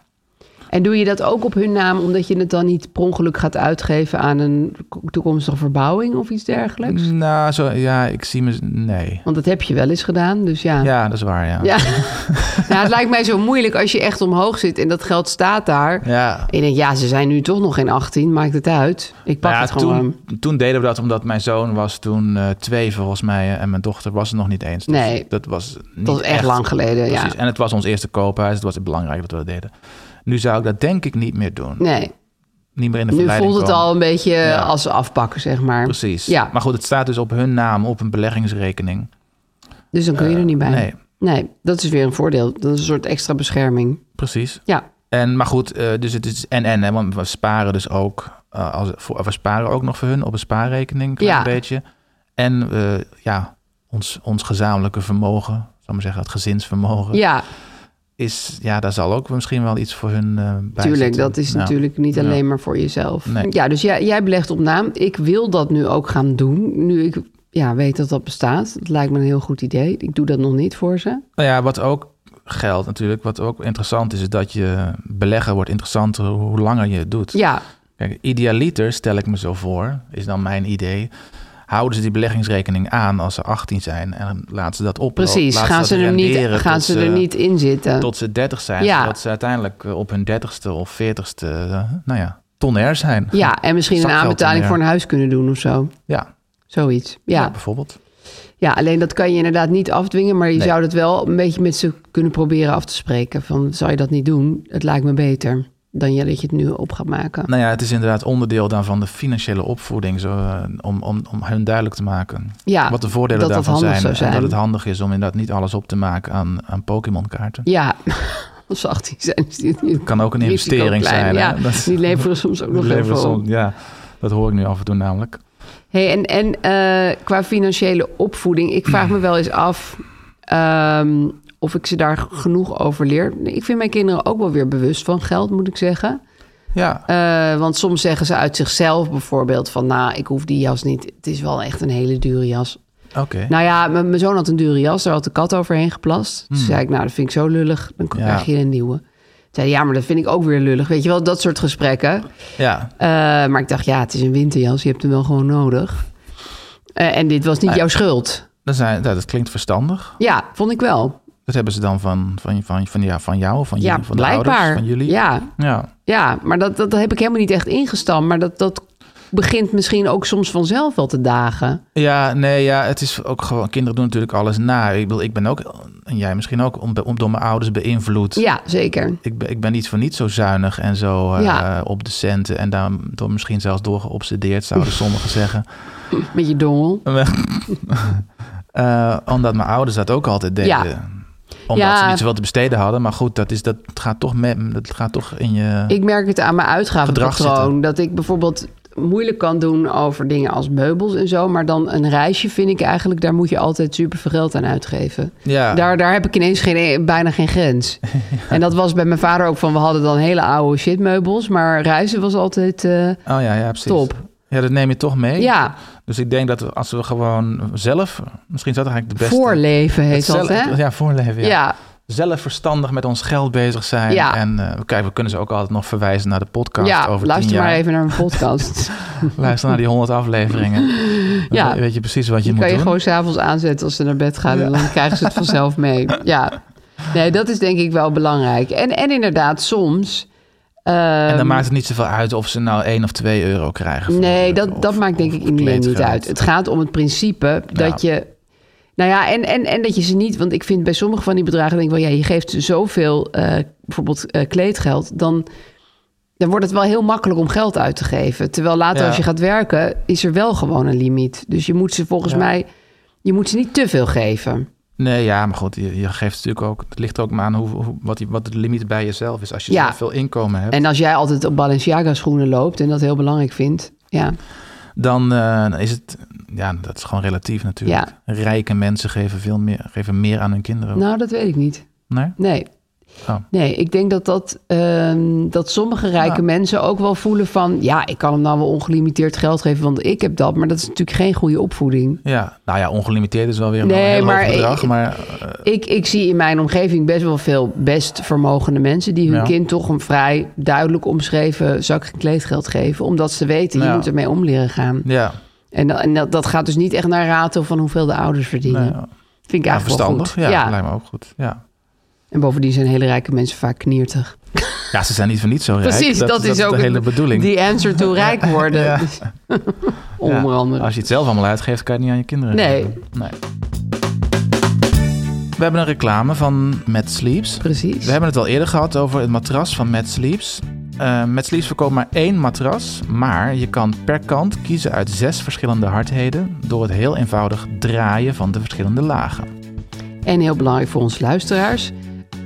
[SPEAKER 4] En doe je dat ook op hun naam omdat je het dan niet per ongeluk gaat uitgeven aan een toekomstige verbouwing of iets dergelijks?
[SPEAKER 7] Nou, zo, ja, ik zie me. Nee.
[SPEAKER 4] Want dat heb je wel eens gedaan, dus ja.
[SPEAKER 7] Ja, dat is waar, ja.
[SPEAKER 4] Ja. Nou, het lijkt mij zo moeilijk als je echt omhoog zit en dat geld staat daar.
[SPEAKER 7] Ja.
[SPEAKER 4] En je denkt, ja, ze zijn nu toch nog geen 18, maakt het uit. Ik pak
[SPEAKER 7] Nou ja,
[SPEAKER 4] het gewoon.
[SPEAKER 7] toen, toen deden we dat omdat mijn zoon was toen eh, twee volgens mij eh, en mijn dochter was het nog niet eens. Dus
[SPEAKER 4] Nee.
[SPEAKER 7] dat was niet
[SPEAKER 4] was echt lang geleden, ja.
[SPEAKER 7] Precies. En het was ons eerste koophuis, het was belangrijk dat we dat deden. Nu zou ik dat denk ik niet meer doen.
[SPEAKER 4] Nee,
[SPEAKER 7] Niet meer in de
[SPEAKER 4] nu
[SPEAKER 7] verleiding
[SPEAKER 4] voelt het
[SPEAKER 7] komen.
[SPEAKER 4] al een beetje als afpakken, zeg maar.
[SPEAKER 7] Precies.
[SPEAKER 4] Ja.
[SPEAKER 7] Maar goed, het staat dus op hun naam op een beleggingsrekening.
[SPEAKER 4] Dus dan kun je er niet bij.
[SPEAKER 7] nee.
[SPEAKER 4] nee, dat is weer een voordeel. Dat is een soort extra bescherming.
[SPEAKER 7] Precies.
[SPEAKER 4] Ja.
[SPEAKER 7] En, maar goed, eh, dus het is en en, hè, want we sparen dus ook, eh, als, voor, we sparen ook nog voor hun op een spaarrekening, klein
[SPEAKER 4] Ja.
[SPEAKER 7] een beetje. En eh, ja, ons, ons gezamenlijke vermogen, zal ik maar zeggen, het gezinsvermogen.
[SPEAKER 4] Ja,
[SPEAKER 7] Is, ja, daar zal ook misschien wel iets voor hun eh bij
[SPEAKER 4] Tuurlijk,
[SPEAKER 7] zitten. Nou.
[SPEAKER 4] dat is
[SPEAKER 7] Ja.
[SPEAKER 4] natuurlijk niet
[SPEAKER 7] Ja.
[SPEAKER 4] alleen maar voor jezelf.
[SPEAKER 7] Nee.
[SPEAKER 4] Ja, dus jij, jij belegt op naam. Ik wil dat nu ook gaan doen. Nu ik ja, weet dat dat bestaat. Dat lijkt me een heel goed idee. Ik doe dat nog niet voor ze.
[SPEAKER 7] Nou ja, wat ook geldt natuurlijk, wat ook interessant is, is dat je beleggen wordt interessanter hoe langer je het doet.
[SPEAKER 4] Ja,
[SPEAKER 7] Kijk, idealiter, stel ik me zo voor, is dan mijn idee. Houden ze die beleggingsrekening aan als ze 18 zijn en laten ze dat oplopen.
[SPEAKER 4] precies.
[SPEAKER 7] Laten
[SPEAKER 4] Gaan
[SPEAKER 7] dat
[SPEAKER 4] ze, er niet,
[SPEAKER 7] renderen
[SPEAKER 4] gaan
[SPEAKER 7] tot
[SPEAKER 4] ze er niet in zitten.
[SPEAKER 7] Tot ze 30 zijn,
[SPEAKER 4] Ja.
[SPEAKER 7] zodat ze uiteindelijk eh, op hun 30ste of 40ste, eh, nou ja, tonair zijn.
[SPEAKER 4] Ja, en misschien een
[SPEAKER 7] Zakgeld
[SPEAKER 4] aanbetaling
[SPEAKER 7] tonair.
[SPEAKER 4] voor een huis kunnen doen of zo.
[SPEAKER 7] Ja.
[SPEAKER 4] Zoiets. Ja.
[SPEAKER 7] Ja,
[SPEAKER 4] Ja.
[SPEAKER 7] bijvoorbeeld.
[SPEAKER 4] alleen dat kan je inderdaad niet afdwingen. Maar je
[SPEAKER 7] Nee.
[SPEAKER 4] zou dat wel een beetje met ze kunnen proberen af te spreken. Van, zou je dat niet doen? Het lijkt me beter dan je dat je het nu op gaat maken.
[SPEAKER 7] Nou ja, het is inderdaad onderdeel dan van de financiële opvoeding, zo, eh, om, om, om hun duidelijk te maken
[SPEAKER 4] Ja,
[SPEAKER 7] wat de voordelen
[SPEAKER 4] Ah, dat dat
[SPEAKER 7] daarvan
[SPEAKER 4] handig
[SPEAKER 7] zijn,
[SPEAKER 4] zou
[SPEAKER 7] En
[SPEAKER 4] zijn.
[SPEAKER 7] dat het handig is om inderdaad niet alles op te maken aan, aan Pokémon-kaarten.
[SPEAKER 4] Ja, als ze 18 zijn. Is dit niet
[SPEAKER 7] Kan ook een
[SPEAKER 4] risico
[SPEAKER 7] investering
[SPEAKER 4] klein.
[SPEAKER 7] zijn, hè?
[SPEAKER 4] Ja,
[SPEAKER 7] Dat-
[SPEAKER 4] die leveren soms ook nog heel
[SPEAKER 7] Leveren
[SPEAKER 4] veel.
[SPEAKER 7] soms- Ja, dat hoor ik nu af en toe namelijk.
[SPEAKER 4] Hey, en en eh, qua financiële opvoeding, ik vraag me wel eens af ehm, of ik ze daar genoeg over leer. Ik vind mijn kinderen ook wel weer bewust van geld, moet ik zeggen.
[SPEAKER 7] Ja,
[SPEAKER 4] Eh, want soms zeggen ze uit zichzelf bijvoorbeeld van... nou, ik hoef die jas niet. Het is wel echt een hele dure jas.
[SPEAKER 7] oké.
[SPEAKER 4] Nou ja, mijn mijn zoon had een dure jas, daar had de kat overheen geplast. Dus zei ik, nou, dat vind ik zo lullig, dan krijg je een nieuwe. Toen Zei hij, ja, maar dat vind ik ook weer lullig. Weet je wel, dat soort gesprekken.
[SPEAKER 7] Ja,
[SPEAKER 4] Eh, maar ik dacht, ja, het is een winterjas, je hebt hem wel gewoon nodig. Eh, en dit was niet
[SPEAKER 7] Ah,
[SPEAKER 4] jouw schuld.
[SPEAKER 7] dat, zijn, nou, dat klinkt verstandig.
[SPEAKER 4] Ja, vond ik wel.
[SPEAKER 7] Dat hebben ze dan van, van, van, van, ja, van jou, van,
[SPEAKER 4] Ja,
[SPEAKER 7] jullie, van de
[SPEAKER 4] blijkbaar.
[SPEAKER 7] ouders, van jullie.
[SPEAKER 4] Ja,
[SPEAKER 7] ja.
[SPEAKER 4] ja maar dat, dat, heb ik helemaal niet echt ingestampt. Maar dat, dat
[SPEAKER 2] begint misschien ook soms vanzelf wel te dagen.
[SPEAKER 7] Ja, nee, ja, het is ook gewoon. Kinderen doen natuurlijk alles na. Ik, bedoel, ik ben ook, en jij misschien ook, om, om door mijn ouders beïnvloed.
[SPEAKER 2] Ja, zeker.
[SPEAKER 7] Ik, ben- ik ben niet voor niet zo zuinig en zo eh,
[SPEAKER 2] Ja.
[SPEAKER 7] op de centen. En daardoor misschien zelfs door geobsedeerd,
[SPEAKER 2] (laughs)
[SPEAKER 7] zouden sommigen zeggen.
[SPEAKER 2] Met je dongel.
[SPEAKER 7] (laughs) Eh, omdat mijn ouders dat ook altijd deden.
[SPEAKER 2] Ja.
[SPEAKER 7] Omdat
[SPEAKER 2] Ja.
[SPEAKER 7] ze niet zoveel te besteden hadden. Maar goed, dat, is, dat, gaat, toch met, dat gaat toch in je...
[SPEAKER 2] Ik merk het aan mijn
[SPEAKER 7] Gedrag
[SPEAKER 2] uitgavenpatroon.
[SPEAKER 7] zitten.
[SPEAKER 2] Dat ik bijvoorbeeld moeilijk kan doen over dingen als meubels en zo. Maar dan een reisje vind ik eigenlijk, daar moet je altijd super veel geld aan uitgeven.
[SPEAKER 7] Ja.
[SPEAKER 2] Daar, daar heb ik ineens geen, bijna geen grens. En dat was bij mijn vader ook van, we hadden dan hele oude shitmeubels. Maar reizen was altijd... eh,
[SPEAKER 7] Oh ja, ja, precies.
[SPEAKER 2] Top.
[SPEAKER 7] Ja, dat neem je toch mee.
[SPEAKER 2] Ja.
[SPEAKER 7] Dus ik denk dat we, als we gewoon zelf... Misschien is dat eigenlijk de beste...
[SPEAKER 2] Voorleven heet
[SPEAKER 7] Het
[SPEAKER 2] dat,
[SPEAKER 7] zelf-
[SPEAKER 2] hè?
[SPEAKER 7] Ja, voorleven, ja.
[SPEAKER 2] Ja.
[SPEAKER 7] Zelf verstandig met ons geld bezig zijn.
[SPEAKER 2] Ja.
[SPEAKER 7] En eh, kijk, we kunnen ze ook altijd nog verwijzen naar de podcast
[SPEAKER 2] ja,
[SPEAKER 7] over
[SPEAKER 2] luister
[SPEAKER 7] tien jaar.
[SPEAKER 2] maar even naar mijn
[SPEAKER 7] (laughs)
[SPEAKER 2] podcast.
[SPEAKER 7] Luister naar die honderd
[SPEAKER 2] (laughs)
[SPEAKER 7] afleveringen. Dan weet je precies wat je
[SPEAKER 2] die
[SPEAKER 7] moet
[SPEAKER 2] kan je
[SPEAKER 7] doen.
[SPEAKER 2] gewoon s'avonds aanzetten als ze naar bed gaan.
[SPEAKER 7] (laughs)
[SPEAKER 2] En dan krijgen ze het vanzelf mee. Ja. Nee, dat is denk ik wel belangrijk. En, en inderdaad, soms...
[SPEAKER 7] En dan
[SPEAKER 2] ehm,
[SPEAKER 7] maakt het niet zoveel uit of ze nou 1 of 2 euro krijgen.
[SPEAKER 2] Nee, dat, dat maakt denk ik in die end niet
[SPEAKER 7] kleedgeld.
[SPEAKER 2] uit. Het gaat om het principe dat je. Nou ja, en, en, en dat je ze niet. Want ik vind bij sommige van die bedragen. denk ik wel, ja, je geeft zoveel. eh, bijvoorbeeld eh, kleedgeld. Dan, dan wordt het wel heel makkelijk om geld uit te geven. Terwijl later,
[SPEAKER 9] Ja.
[SPEAKER 2] als je gaat werken. is er wel gewoon een limiet. Dus je moet ze volgens mij. Je moet ze niet te veel geven.
[SPEAKER 7] Nee, ja, maar goed, je, je geeft natuurlijk ook... Het ligt er ook maar aan hoe, hoe- wat, die, wat de limiet bij jezelf is. Als je
[SPEAKER 2] Ja.
[SPEAKER 7] zoveel veel inkomen hebt,
[SPEAKER 2] En als jij altijd op Balenciaga schoenen loopt. en dat heel belangrijk vindt. Ja.
[SPEAKER 7] dan eh, is het... Ja, dat is gewoon relatief natuurlijk. Rijke mensen geven, veel meer, geven meer aan hun kinderen.
[SPEAKER 2] Nou, dat weet ik niet.
[SPEAKER 7] Nee?
[SPEAKER 2] Nee.
[SPEAKER 7] Oh.
[SPEAKER 2] Nee, ik denk dat, dat, ehm, dat sommige rijke
[SPEAKER 7] Ja.
[SPEAKER 2] mensen ook wel voelen van... ja, ik kan hem nou wel ongelimiteerd geld geven, want ik heb dat. Maar dat is natuurlijk geen goede opvoeding.
[SPEAKER 7] Ja, nou ja, ongelimiteerd is wel weer
[SPEAKER 2] Nee,
[SPEAKER 7] een heel
[SPEAKER 2] maar
[SPEAKER 7] hoog bedrag.
[SPEAKER 2] ik-
[SPEAKER 7] maar
[SPEAKER 2] Ik, ik zie in mijn omgeving best wel veel best vermogende mensen... die hun
[SPEAKER 7] Ja.
[SPEAKER 2] kind toch een vrij duidelijk omschreven zak kleedgeld geven. Omdat ze weten, je
[SPEAKER 7] Ja.
[SPEAKER 2] moet ermee om leren gaan.
[SPEAKER 7] ja,
[SPEAKER 2] En, dat, en dat, dat gaat dus niet echt naar rato van hoeveel de ouders verdienen. Vind ik
[SPEAKER 7] nou ja,
[SPEAKER 2] eigenlijk wel
[SPEAKER 7] verstandig.
[SPEAKER 2] goed.
[SPEAKER 7] Ja, lijkt me ook goed. Ja.
[SPEAKER 2] En bovendien zijn hele rijke mensen vaak kniertig.
[SPEAKER 7] ja, ze zijn niet van niet zo rijk.
[SPEAKER 2] Precies, dat, is ook
[SPEAKER 7] de hele
[SPEAKER 2] het-
[SPEAKER 7] bedoeling.
[SPEAKER 2] Die answer to
[SPEAKER 7] (laughs)
[SPEAKER 2] rijk worden. Dus- (laughs) Onder
[SPEAKER 7] Ja,
[SPEAKER 2] andere.
[SPEAKER 7] Als je het zelf allemaal uitgeeft, kan je het niet aan je kinderen
[SPEAKER 2] Nee.
[SPEAKER 7] geven. nee. We hebben een reclame van Mad Sleeps.
[SPEAKER 2] Precies.
[SPEAKER 7] We hebben het al eerder gehad over het matras van Mad Sleeps. Eh Mad Sleeps verkoopt maar één matras, maar je kan per kant kiezen uit zes verschillende hardheden door het heel eenvoudig draaien van de verschillende lagen.
[SPEAKER 2] En heel belangrijk voor ons luisteraars.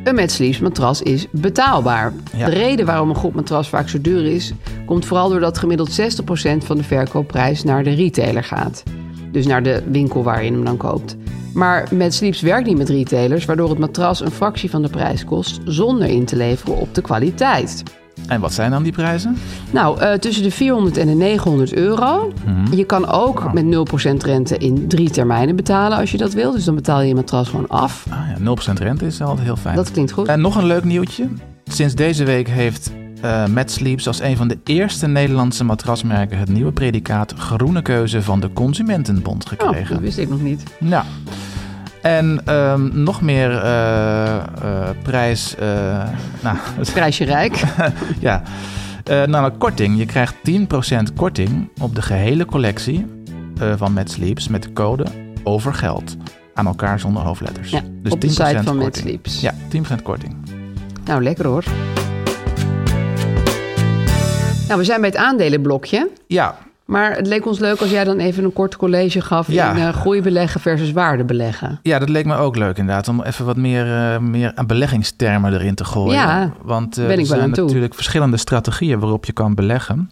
[SPEAKER 2] Een Mad Sleeps matras is betaalbaar.
[SPEAKER 7] Ja.
[SPEAKER 2] De reden waarom een goed matras vaak zo duur is, komt vooral doordat gemiddeld 60% van de verkoopprijs naar de retailer gaat. Dus naar de winkel waar je hem dan koopt. Maar Mad Sleeps werkt niet met retailers, waardoor het matras een fractie van de prijs kost zonder in te leveren op de kwaliteit.
[SPEAKER 7] En wat zijn dan die prijzen?
[SPEAKER 2] Nou, eh, tussen de 400 en de 900 euro.
[SPEAKER 7] Mhm.
[SPEAKER 2] Je kan
[SPEAKER 7] Ah.
[SPEAKER 2] ook met 0% rente in drie termijnen betalen als je dat wil. Dus dan betaal je je matras gewoon af.
[SPEAKER 7] Ah ja, 0% rente is altijd heel fijn.
[SPEAKER 2] Dat klinkt goed.
[SPEAKER 7] En nog een leuk nieuwtje. Sinds deze week heeft eh Mad Sleeps als een van de eerste Nederlandse matrasmerken het nieuwe predicaat Groene Keuze van de Consumentenbond
[SPEAKER 2] Oh,
[SPEAKER 7] gekregen.
[SPEAKER 2] dat wist ik nog niet.
[SPEAKER 7] Nou. En ehm, nog meer eh, eh, prijs. eh nou, (laughs)
[SPEAKER 2] Prijsje rijk.
[SPEAKER 7] ja. Eh namelijk korting. Je krijgt 10% korting op de gehele collectie eh, van Mad Sleeps met de code overgeld. Aan elkaar zonder hoofdletters.
[SPEAKER 2] Ja, op de
[SPEAKER 7] 10%
[SPEAKER 2] site van Mad
[SPEAKER 7] Dus korting.
[SPEAKER 2] Sleeps.
[SPEAKER 7] Ja, 10% korting.
[SPEAKER 2] Nou, lekker hoor. Nou, we zijn bij het aandelenblokje.
[SPEAKER 7] Ja,
[SPEAKER 2] Maar het leek ons leuk als jij dan even een kort college gaf
[SPEAKER 7] Ja.
[SPEAKER 2] in eh, groeibeleggen versus waardebeleggen.
[SPEAKER 7] Ja, dat leek me ook leuk inderdaad. Om even wat meer, eh, meer aan beleggingstermen erin te gooien.
[SPEAKER 2] Ja,
[SPEAKER 7] Want eh,
[SPEAKER 2] ben ik
[SPEAKER 7] er
[SPEAKER 2] wel aan
[SPEAKER 7] zijn
[SPEAKER 2] toe.
[SPEAKER 7] natuurlijk verschillende strategieën waarop je kan beleggen.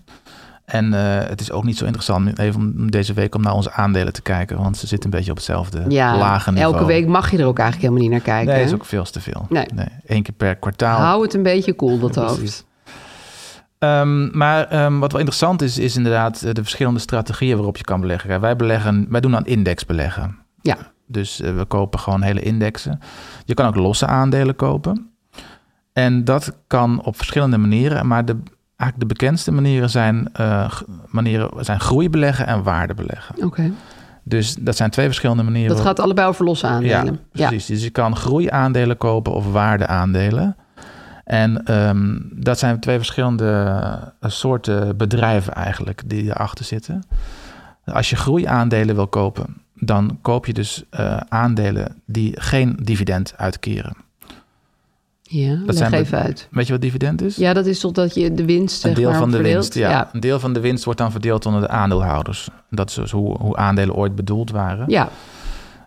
[SPEAKER 7] En eh, het is ook niet zo interessant nu even om deze week om naar onze aandelen te kijken. Want ze zitten een beetje op hetzelfde
[SPEAKER 2] Ja,
[SPEAKER 7] lage niveau.
[SPEAKER 2] elke week mag je er ook eigenlijk helemaal niet naar kijken.
[SPEAKER 7] Nee,
[SPEAKER 2] hè?
[SPEAKER 7] is ook veel te veel.
[SPEAKER 2] Nee.
[SPEAKER 7] Eén keer per kwartaal.
[SPEAKER 2] Hou het een beetje cool, dat
[SPEAKER 7] Precies.
[SPEAKER 2] hoofd.
[SPEAKER 7] Ehm, maar ehm, wat wel interessant is, is inderdaad eh, de verschillende strategieën waarop je kan beleggen. Kijk, wij, beleggen, wij doen aan indexbeleggen.
[SPEAKER 2] Ja.
[SPEAKER 7] Dus eh, we kopen gewoon hele indexen. Je kan ook losse aandelen kopen. En dat kan op verschillende manieren. Maar de, eigenlijk de bekendste manieren zijn, eh, g- manieren zijn groeibeleggen en waardebeleggen.
[SPEAKER 2] Oké.
[SPEAKER 7] Dus dat zijn twee verschillende manieren.
[SPEAKER 2] Dat
[SPEAKER 7] waarop-
[SPEAKER 2] gaat allebei over losse aandelen.
[SPEAKER 7] ja, precies. Dus je kan groeiaandelen kopen of waardeaandelen. En ehm, dat zijn twee verschillende eh, soorten bedrijven eigenlijk die erachter zitten. Als je groeiaandelen wil kopen, dan koop je dus eh, aandelen die geen dividend uitkeren.
[SPEAKER 4] Ja, dat leg
[SPEAKER 7] zijn be-
[SPEAKER 4] even uit.
[SPEAKER 7] Weet je wat dividend is?
[SPEAKER 4] Ja, dat is toch dat je de winst zeg
[SPEAKER 7] Een deel
[SPEAKER 4] maar,
[SPEAKER 7] van de
[SPEAKER 4] verdeelt?
[SPEAKER 7] winst, ja. Een deel van de winst wordt dan verdeeld onder de aandeelhouders. Dat is dus hoe, hoe aandelen ooit bedoeld waren.
[SPEAKER 4] Ja.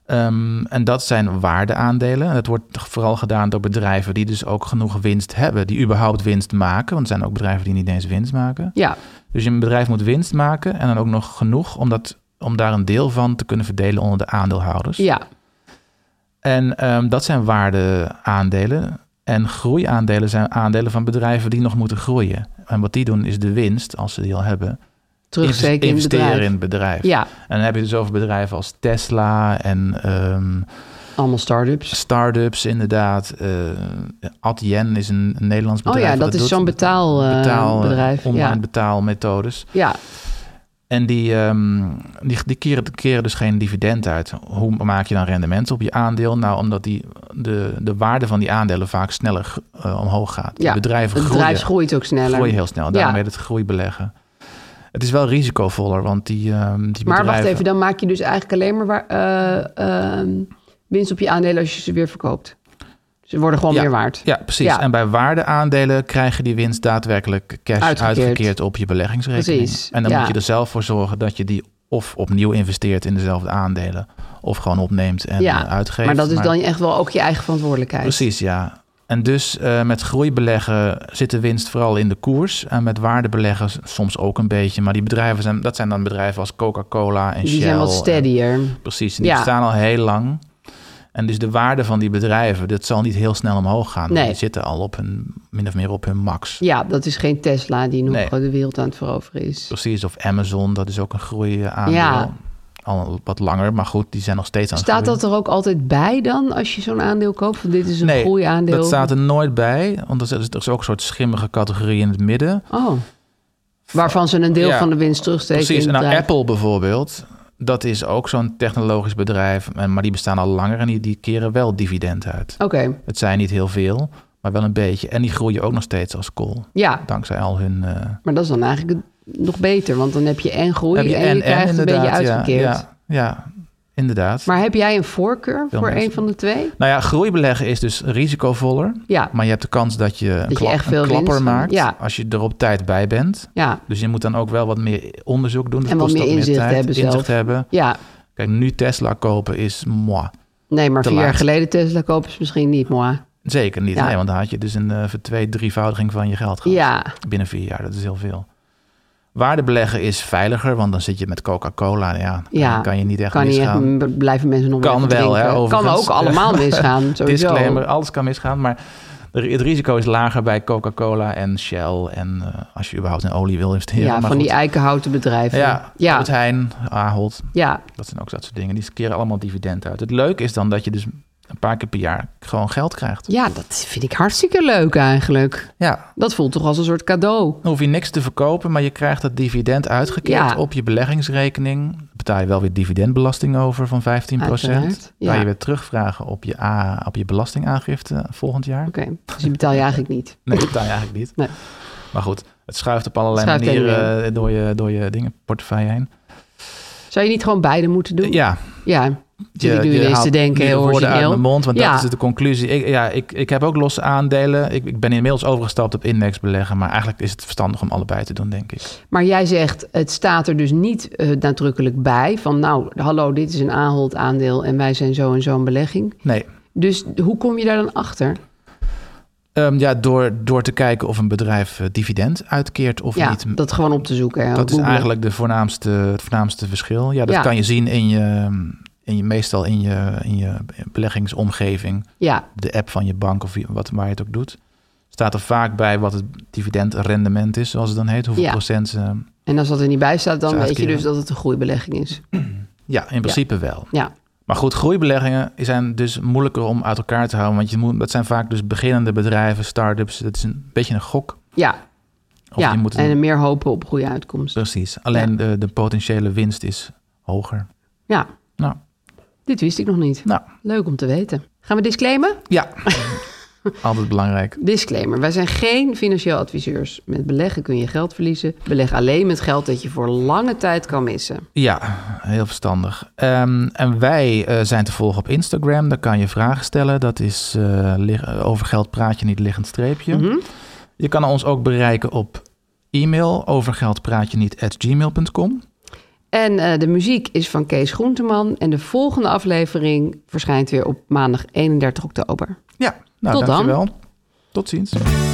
[SPEAKER 7] Ehm, en dat zijn waardeaandelen. En dat wordt vooral gedaan door bedrijven die dus ook genoeg winst hebben. Die überhaupt winst maken. Want er zijn ook bedrijven die niet eens winst maken.
[SPEAKER 4] Ja.
[SPEAKER 7] Dus je bedrijf moet winst maken. En dan ook nog genoeg om, dat, om daar een deel van te kunnen verdelen onder de aandeelhouders.
[SPEAKER 4] Ja.
[SPEAKER 7] En ehm, dat zijn waardeaandelen. En groeiaandelen zijn aandelen van bedrijven die nog moeten groeien. En wat die doen is de winst, als ze die al hebben,
[SPEAKER 4] Terugsteken
[SPEAKER 7] investe-
[SPEAKER 4] in
[SPEAKER 7] investeren
[SPEAKER 4] het bedrijf.
[SPEAKER 7] in het bedrijf.
[SPEAKER 4] Ja.
[SPEAKER 7] En dan heb je het dus over bedrijven als Tesla en... ehm,
[SPEAKER 4] Allemaal start-ups.
[SPEAKER 7] Start-ups, inderdaad. Eh Adyen is een, een Nederlands
[SPEAKER 4] Oh ja,
[SPEAKER 7] bedrijf.
[SPEAKER 4] dat is
[SPEAKER 7] doet
[SPEAKER 4] zo'n betaal, eh,
[SPEAKER 7] betaal, eh,
[SPEAKER 4] bedrijf,
[SPEAKER 7] Online
[SPEAKER 4] ja.
[SPEAKER 7] betaalmethodes.
[SPEAKER 4] Ja.
[SPEAKER 7] En die, ehm, die, die keren, keren dus geen dividend uit. Hoe maak je dan rendement op je aandeel? Nou, omdat die, de, de waarde van die aandelen vaak sneller eh, omhoog gaat. Die
[SPEAKER 4] Ja,
[SPEAKER 7] bedrijven
[SPEAKER 4] het
[SPEAKER 7] groeien.
[SPEAKER 4] bedrijf groeit ook sneller.
[SPEAKER 7] Groeien heel snel. Daarom
[SPEAKER 4] Ja.
[SPEAKER 7] heet het groeibeleggen. Het is wel risicovoller, want die, ehm, die bedrijven...
[SPEAKER 4] Maar wacht even, dan maak je dus eigenlijk alleen maar waar, eh, ehm, winst op je aandelen als je ze weer verkoopt. Ze worden gewoon
[SPEAKER 7] Ja,
[SPEAKER 4] meer waard.
[SPEAKER 7] Ja, precies.
[SPEAKER 4] Ja.
[SPEAKER 7] En bij waardeaandelen krijg je die winst daadwerkelijk cash
[SPEAKER 4] Uitgekeerd.
[SPEAKER 7] uitgekeerd, op je beleggingsrekening.
[SPEAKER 4] Precies,
[SPEAKER 7] En dan
[SPEAKER 4] ja.
[SPEAKER 7] moet je er zelf voor zorgen dat je die of opnieuw investeert in dezelfde aandelen, of gewoon opneemt en
[SPEAKER 4] ja.
[SPEAKER 7] eh, uitgeeft.
[SPEAKER 4] Maar dat is dan echt wel ook je eigen verantwoordelijkheid.
[SPEAKER 7] Precies, ja. En dus eh, met groeibeleggen zit de winst vooral in de koers. En met waardebeleggen s- soms ook een beetje. Maar die bedrijven zijn, dat zijn dan bedrijven als Coca-Cola en
[SPEAKER 4] Die
[SPEAKER 7] Shell.
[SPEAKER 4] zijn wat
[SPEAKER 7] en-
[SPEAKER 4] steadier.
[SPEAKER 7] precies, en die
[SPEAKER 4] Ja.
[SPEAKER 7] staan al heel lang. En dus de waarde van die bedrijven, dat zal niet heel snel omhoog gaan. want
[SPEAKER 4] Nee.
[SPEAKER 7] Die zitten al op hun, min of meer op hun max.
[SPEAKER 4] Ja, dat is geen Tesla die nog
[SPEAKER 7] Nee.
[SPEAKER 4] de wereld aan het veroveren is.
[SPEAKER 7] Precies, of Amazon, dat is ook een groeiaandeel.
[SPEAKER 4] Ja.
[SPEAKER 7] Al wat langer, maar goed, die zijn nog steeds aan het
[SPEAKER 4] Staat
[SPEAKER 7] groeien.
[SPEAKER 4] dat er ook altijd bij dan als je zo'n aandeel koopt? Van dit is een groeiaandeel.
[SPEAKER 7] Dat staat er nooit bij, want er is, er is ook een soort schimmige categorie in het midden.
[SPEAKER 4] Oh. Waarvan ze een deel
[SPEAKER 7] Ja,
[SPEAKER 4] van de winst terugsteken.
[SPEAKER 7] Precies,
[SPEAKER 4] in
[SPEAKER 7] en
[SPEAKER 4] het
[SPEAKER 7] nou,
[SPEAKER 4] bedrijf.
[SPEAKER 7] Apple bijvoorbeeld, dat is ook zo'n technologisch bedrijf, en- maar die bestaan al langer en die, die keren wel dividend uit.
[SPEAKER 4] Oké.
[SPEAKER 7] Het zijn niet heel veel, maar wel een beetje. En die groeien ook nog steeds als kool.
[SPEAKER 4] Ja.
[SPEAKER 7] Dankzij al hun... eh,
[SPEAKER 4] Maar dat is dan eigenlijk nog beter, want dan heb je en groei
[SPEAKER 7] heb
[SPEAKER 4] en, je krijgt een beetje
[SPEAKER 7] inderdaad, ja,
[SPEAKER 4] uitgekeerd.
[SPEAKER 7] Ja, ja, inderdaad.
[SPEAKER 4] Maar heb jij een voorkeur
[SPEAKER 7] Veel
[SPEAKER 4] voor
[SPEAKER 7] mensen.
[SPEAKER 4] een van de twee?
[SPEAKER 7] Nou ja, groeibeleggen is dus risicovoller.
[SPEAKER 4] Ja.
[SPEAKER 7] Maar je hebt de kans dat je een,
[SPEAKER 4] je
[SPEAKER 7] klap-
[SPEAKER 4] echt
[SPEAKER 7] een
[SPEAKER 4] veel
[SPEAKER 7] klapper
[SPEAKER 4] winst maakt.
[SPEAKER 7] maakt
[SPEAKER 4] Ja.
[SPEAKER 7] als je er op tijd bij bent.
[SPEAKER 4] Ja.
[SPEAKER 7] Dus je moet dan ook wel wat meer onderzoek doen. Dat
[SPEAKER 4] En wat
[SPEAKER 7] kost
[SPEAKER 4] meer
[SPEAKER 7] ook
[SPEAKER 4] inzicht
[SPEAKER 7] tijd,
[SPEAKER 4] hebben zelf.
[SPEAKER 7] inzicht hebben.
[SPEAKER 4] Ja.
[SPEAKER 7] Kijk, nu Tesla kopen is moi.
[SPEAKER 4] Nee, maar
[SPEAKER 7] Te
[SPEAKER 4] vier
[SPEAKER 7] laat.
[SPEAKER 4] jaar geleden Tesla kopen is misschien niet mooi.
[SPEAKER 7] Zeker niet.
[SPEAKER 4] Ja.
[SPEAKER 7] Nee, want dan had je dus een eh twee, drievoudiging van je geld gehad.
[SPEAKER 4] Ja.
[SPEAKER 7] Binnen vier jaar, dat is heel veel. Waardebeleggen is veiliger, want dan zit je met Coca-Cola. nou Ja, dan
[SPEAKER 4] Ja,
[SPEAKER 7] kan je niet echt
[SPEAKER 4] kan niet echt-
[SPEAKER 7] misgaan.
[SPEAKER 4] m- blijven mensen nog
[SPEAKER 7] kan
[SPEAKER 4] even
[SPEAKER 7] wel,
[SPEAKER 4] drinken.
[SPEAKER 7] hè,
[SPEAKER 4] Kan
[SPEAKER 7] overigens.
[SPEAKER 4] ook
[SPEAKER 7] (laughs)
[SPEAKER 4] allemaal misgaan, sowieso.
[SPEAKER 7] Disclaimer, alles kan misgaan, maar er- het risico is lager bij Coca-Cola en Shell en eh, als je überhaupt in olie wil
[SPEAKER 4] Ja,
[SPEAKER 7] investeren. maar
[SPEAKER 4] van
[SPEAKER 7] goed.
[SPEAKER 4] die eikenhouten bedrijven.
[SPEAKER 7] Ja, ja. Heijn, Ahold.
[SPEAKER 4] Ja.
[SPEAKER 7] Dat zijn ook dat soort dingen. Die keren allemaal dividend uit. Het leuke is dan dat je dus een paar keer per jaar gewoon geld krijgt.
[SPEAKER 4] Ja, dat vind ik hartstikke leuk eigenlijk.
[SPEAKER 7] Ja.
[SPEAKER 4] Dat voelt toch als een soort cadeau.
[SPEAKER 7] Dan hoef je niks te verkopen, maar je krijgt dat dividend uitgekeerd
[SPEAKER 4] Ja.
[SPEAKER 7] op je beleggingsrekening. Daar betaal je wel weer dividendbelasting over van 15%.
[SPEAKER 4] Uiteraard, ja.
[SPEAKER 7] Kan je weer terugvragen op je, A, op je belastingaangifte volgend jaar.
[SPEAKER 4] Oké, dus die betaal je eigenlijk niet.
[SPEAKER 7] Nee, dat betaal je eigenlijk niet.
[SPEAKER 4] Nee.
[SPEAKER 7] Maar goed, het schuift op allerlei
[SPEAKER 4] Schuift heen en
[SPEAKER 7] manieren eh, door je, door je dingen, portefeuille heen.
[SPEAKER 4] Zou je niet gewoon beide moeten doen?
[SPEAKER 7] Ja.
[SPEAKER 4] Ja, zit ik nu
[SPEAKER 7] je
[SPEAKER 4] ineens
[SPEAKER 7] haalt
[SPEAKER 4] te denken,
[SPEAKER 7] nu de
[SPEAKER 4] heel
[SPEAKER 7] woorden uit
[SPEAKER 4] origineel.
[SPEAKER 7] mijn mond, want
[SPEAKER 4] ja.
[SPEAKER 7] dat is de conclusie. Ik, ja, ik, ik heb ook losse aandelen. Ik, ik ben inmiddels overgestapt op indexbeleggen, maar eigenlijk is het verstandig om allebei te doen, denk ik.
[SPEAKER 4] Maar jij zegt, het staat er dus niet eh, nadrukkelijk bij van... nou, hallo, dit is een Ahold aandeel en wij zijn zo en zo'n belegging.
[SPEAKER 7] Nee.
[SPEAKER 4] Dus hoe kom je daar dan achter?
[SPEAKER 7] Ehm, ja, door, door te kijken of een bedrijf eh, dividend uitkeert of
[SPEAKER 4] ja,
[SPEAKER 7] niet.
[SPEAKER 4] dat gewoon op te zoeken. hè,
[SPEAKER 7] Dat is
[SPEAKER 4] Nou, googlen.
[SPEAKER 7] eigenlijk de voornaamste, het voornaamste verschil. Ja, dat
[SPEAKER 4] Ja.
[SPEAKER 7] kan je zien in je, in je, meestal in je, in je beleggingsomgeving.
[SPEAKER 4] Ja.
[SPEAKER 7] De app van je bank of je- wat, waar je het ook doet. Staat er vaak bij wat het dividendrendement is, zoals het dan heet. Hoeveel
[SPEAKER 4] Ja.
[SPEAKER 7] procent. eh,
[SPEAKER 4] En als dat er niet bij staat, dan
[SPEAKER 7] Zou
[SPEAKER 4] weet je
[SPEAKER 7] uitkeren.
[SPEAKER 4] dus dat het een groeibelegging is.
[SPEAKER 7] ja, in principe wel.
[SPEAKER 4] Ja,
[SPEAKER 7] Maar goed, groeibeleggingen zijn dus moeilijker om uit elkaar te houden. Want je moet, dat zijn vaak dus beginnende bedrijven, start-ups. Dat is een beetje een gok.
[SPEAKER 4] ja.
[SPEAKER 7] Of
[SPEAKER 4] ja.
[SPEAKER 7] je moet
[SPEAKER 4] en
[SPEAKER 7] een-
[SPEAKER 4] meer hopen op goede uitkomst.
[SPEAKER 7] Precies. Alleen de, de potentiële winst is hoger.
[SPEAKER 4] Ja.
[SPEAKER 7] Nou.
[SPEAKER 4] Dit wist ik nog niet.
[SPEAKER 7] Nou.
[SPEAKER 4] (laughs) Leuk om te weten. Gaan we disclaimen?
[SPEAKER 7] Ja. Altijd belangrijk.
[SPEAKER 4] Disclaimer, wij zijn geen financieel adviseurs. Met beleggen kun je geld verliezen. Beleg alleen met geld dat je voor lange tijd kan missen.
[SPEAKER 7] Ja, heel verstandig. Ehm, en wij eh, zijn te volgen op Instagram. Daar kan je vragen stellen. Dat is eh, lig- over geld praat je niet liggend streepje.
[SPEAKER 4] Mhm.
[SPEAKER 7] Je kan ons ook bereiken op e-mail over geld praat je niet at gmail.com.
[SPEAKER 4] En eh, de muziek is van Kees Groenteman. En de volgende aflevering verschijnt weer op maandag 31 oktober.
[SPEAKER 7] Ja, Nou,
[SPEAKER 4] Tot dan.
[SPEAKER 7] dankjewel. Tot ziens.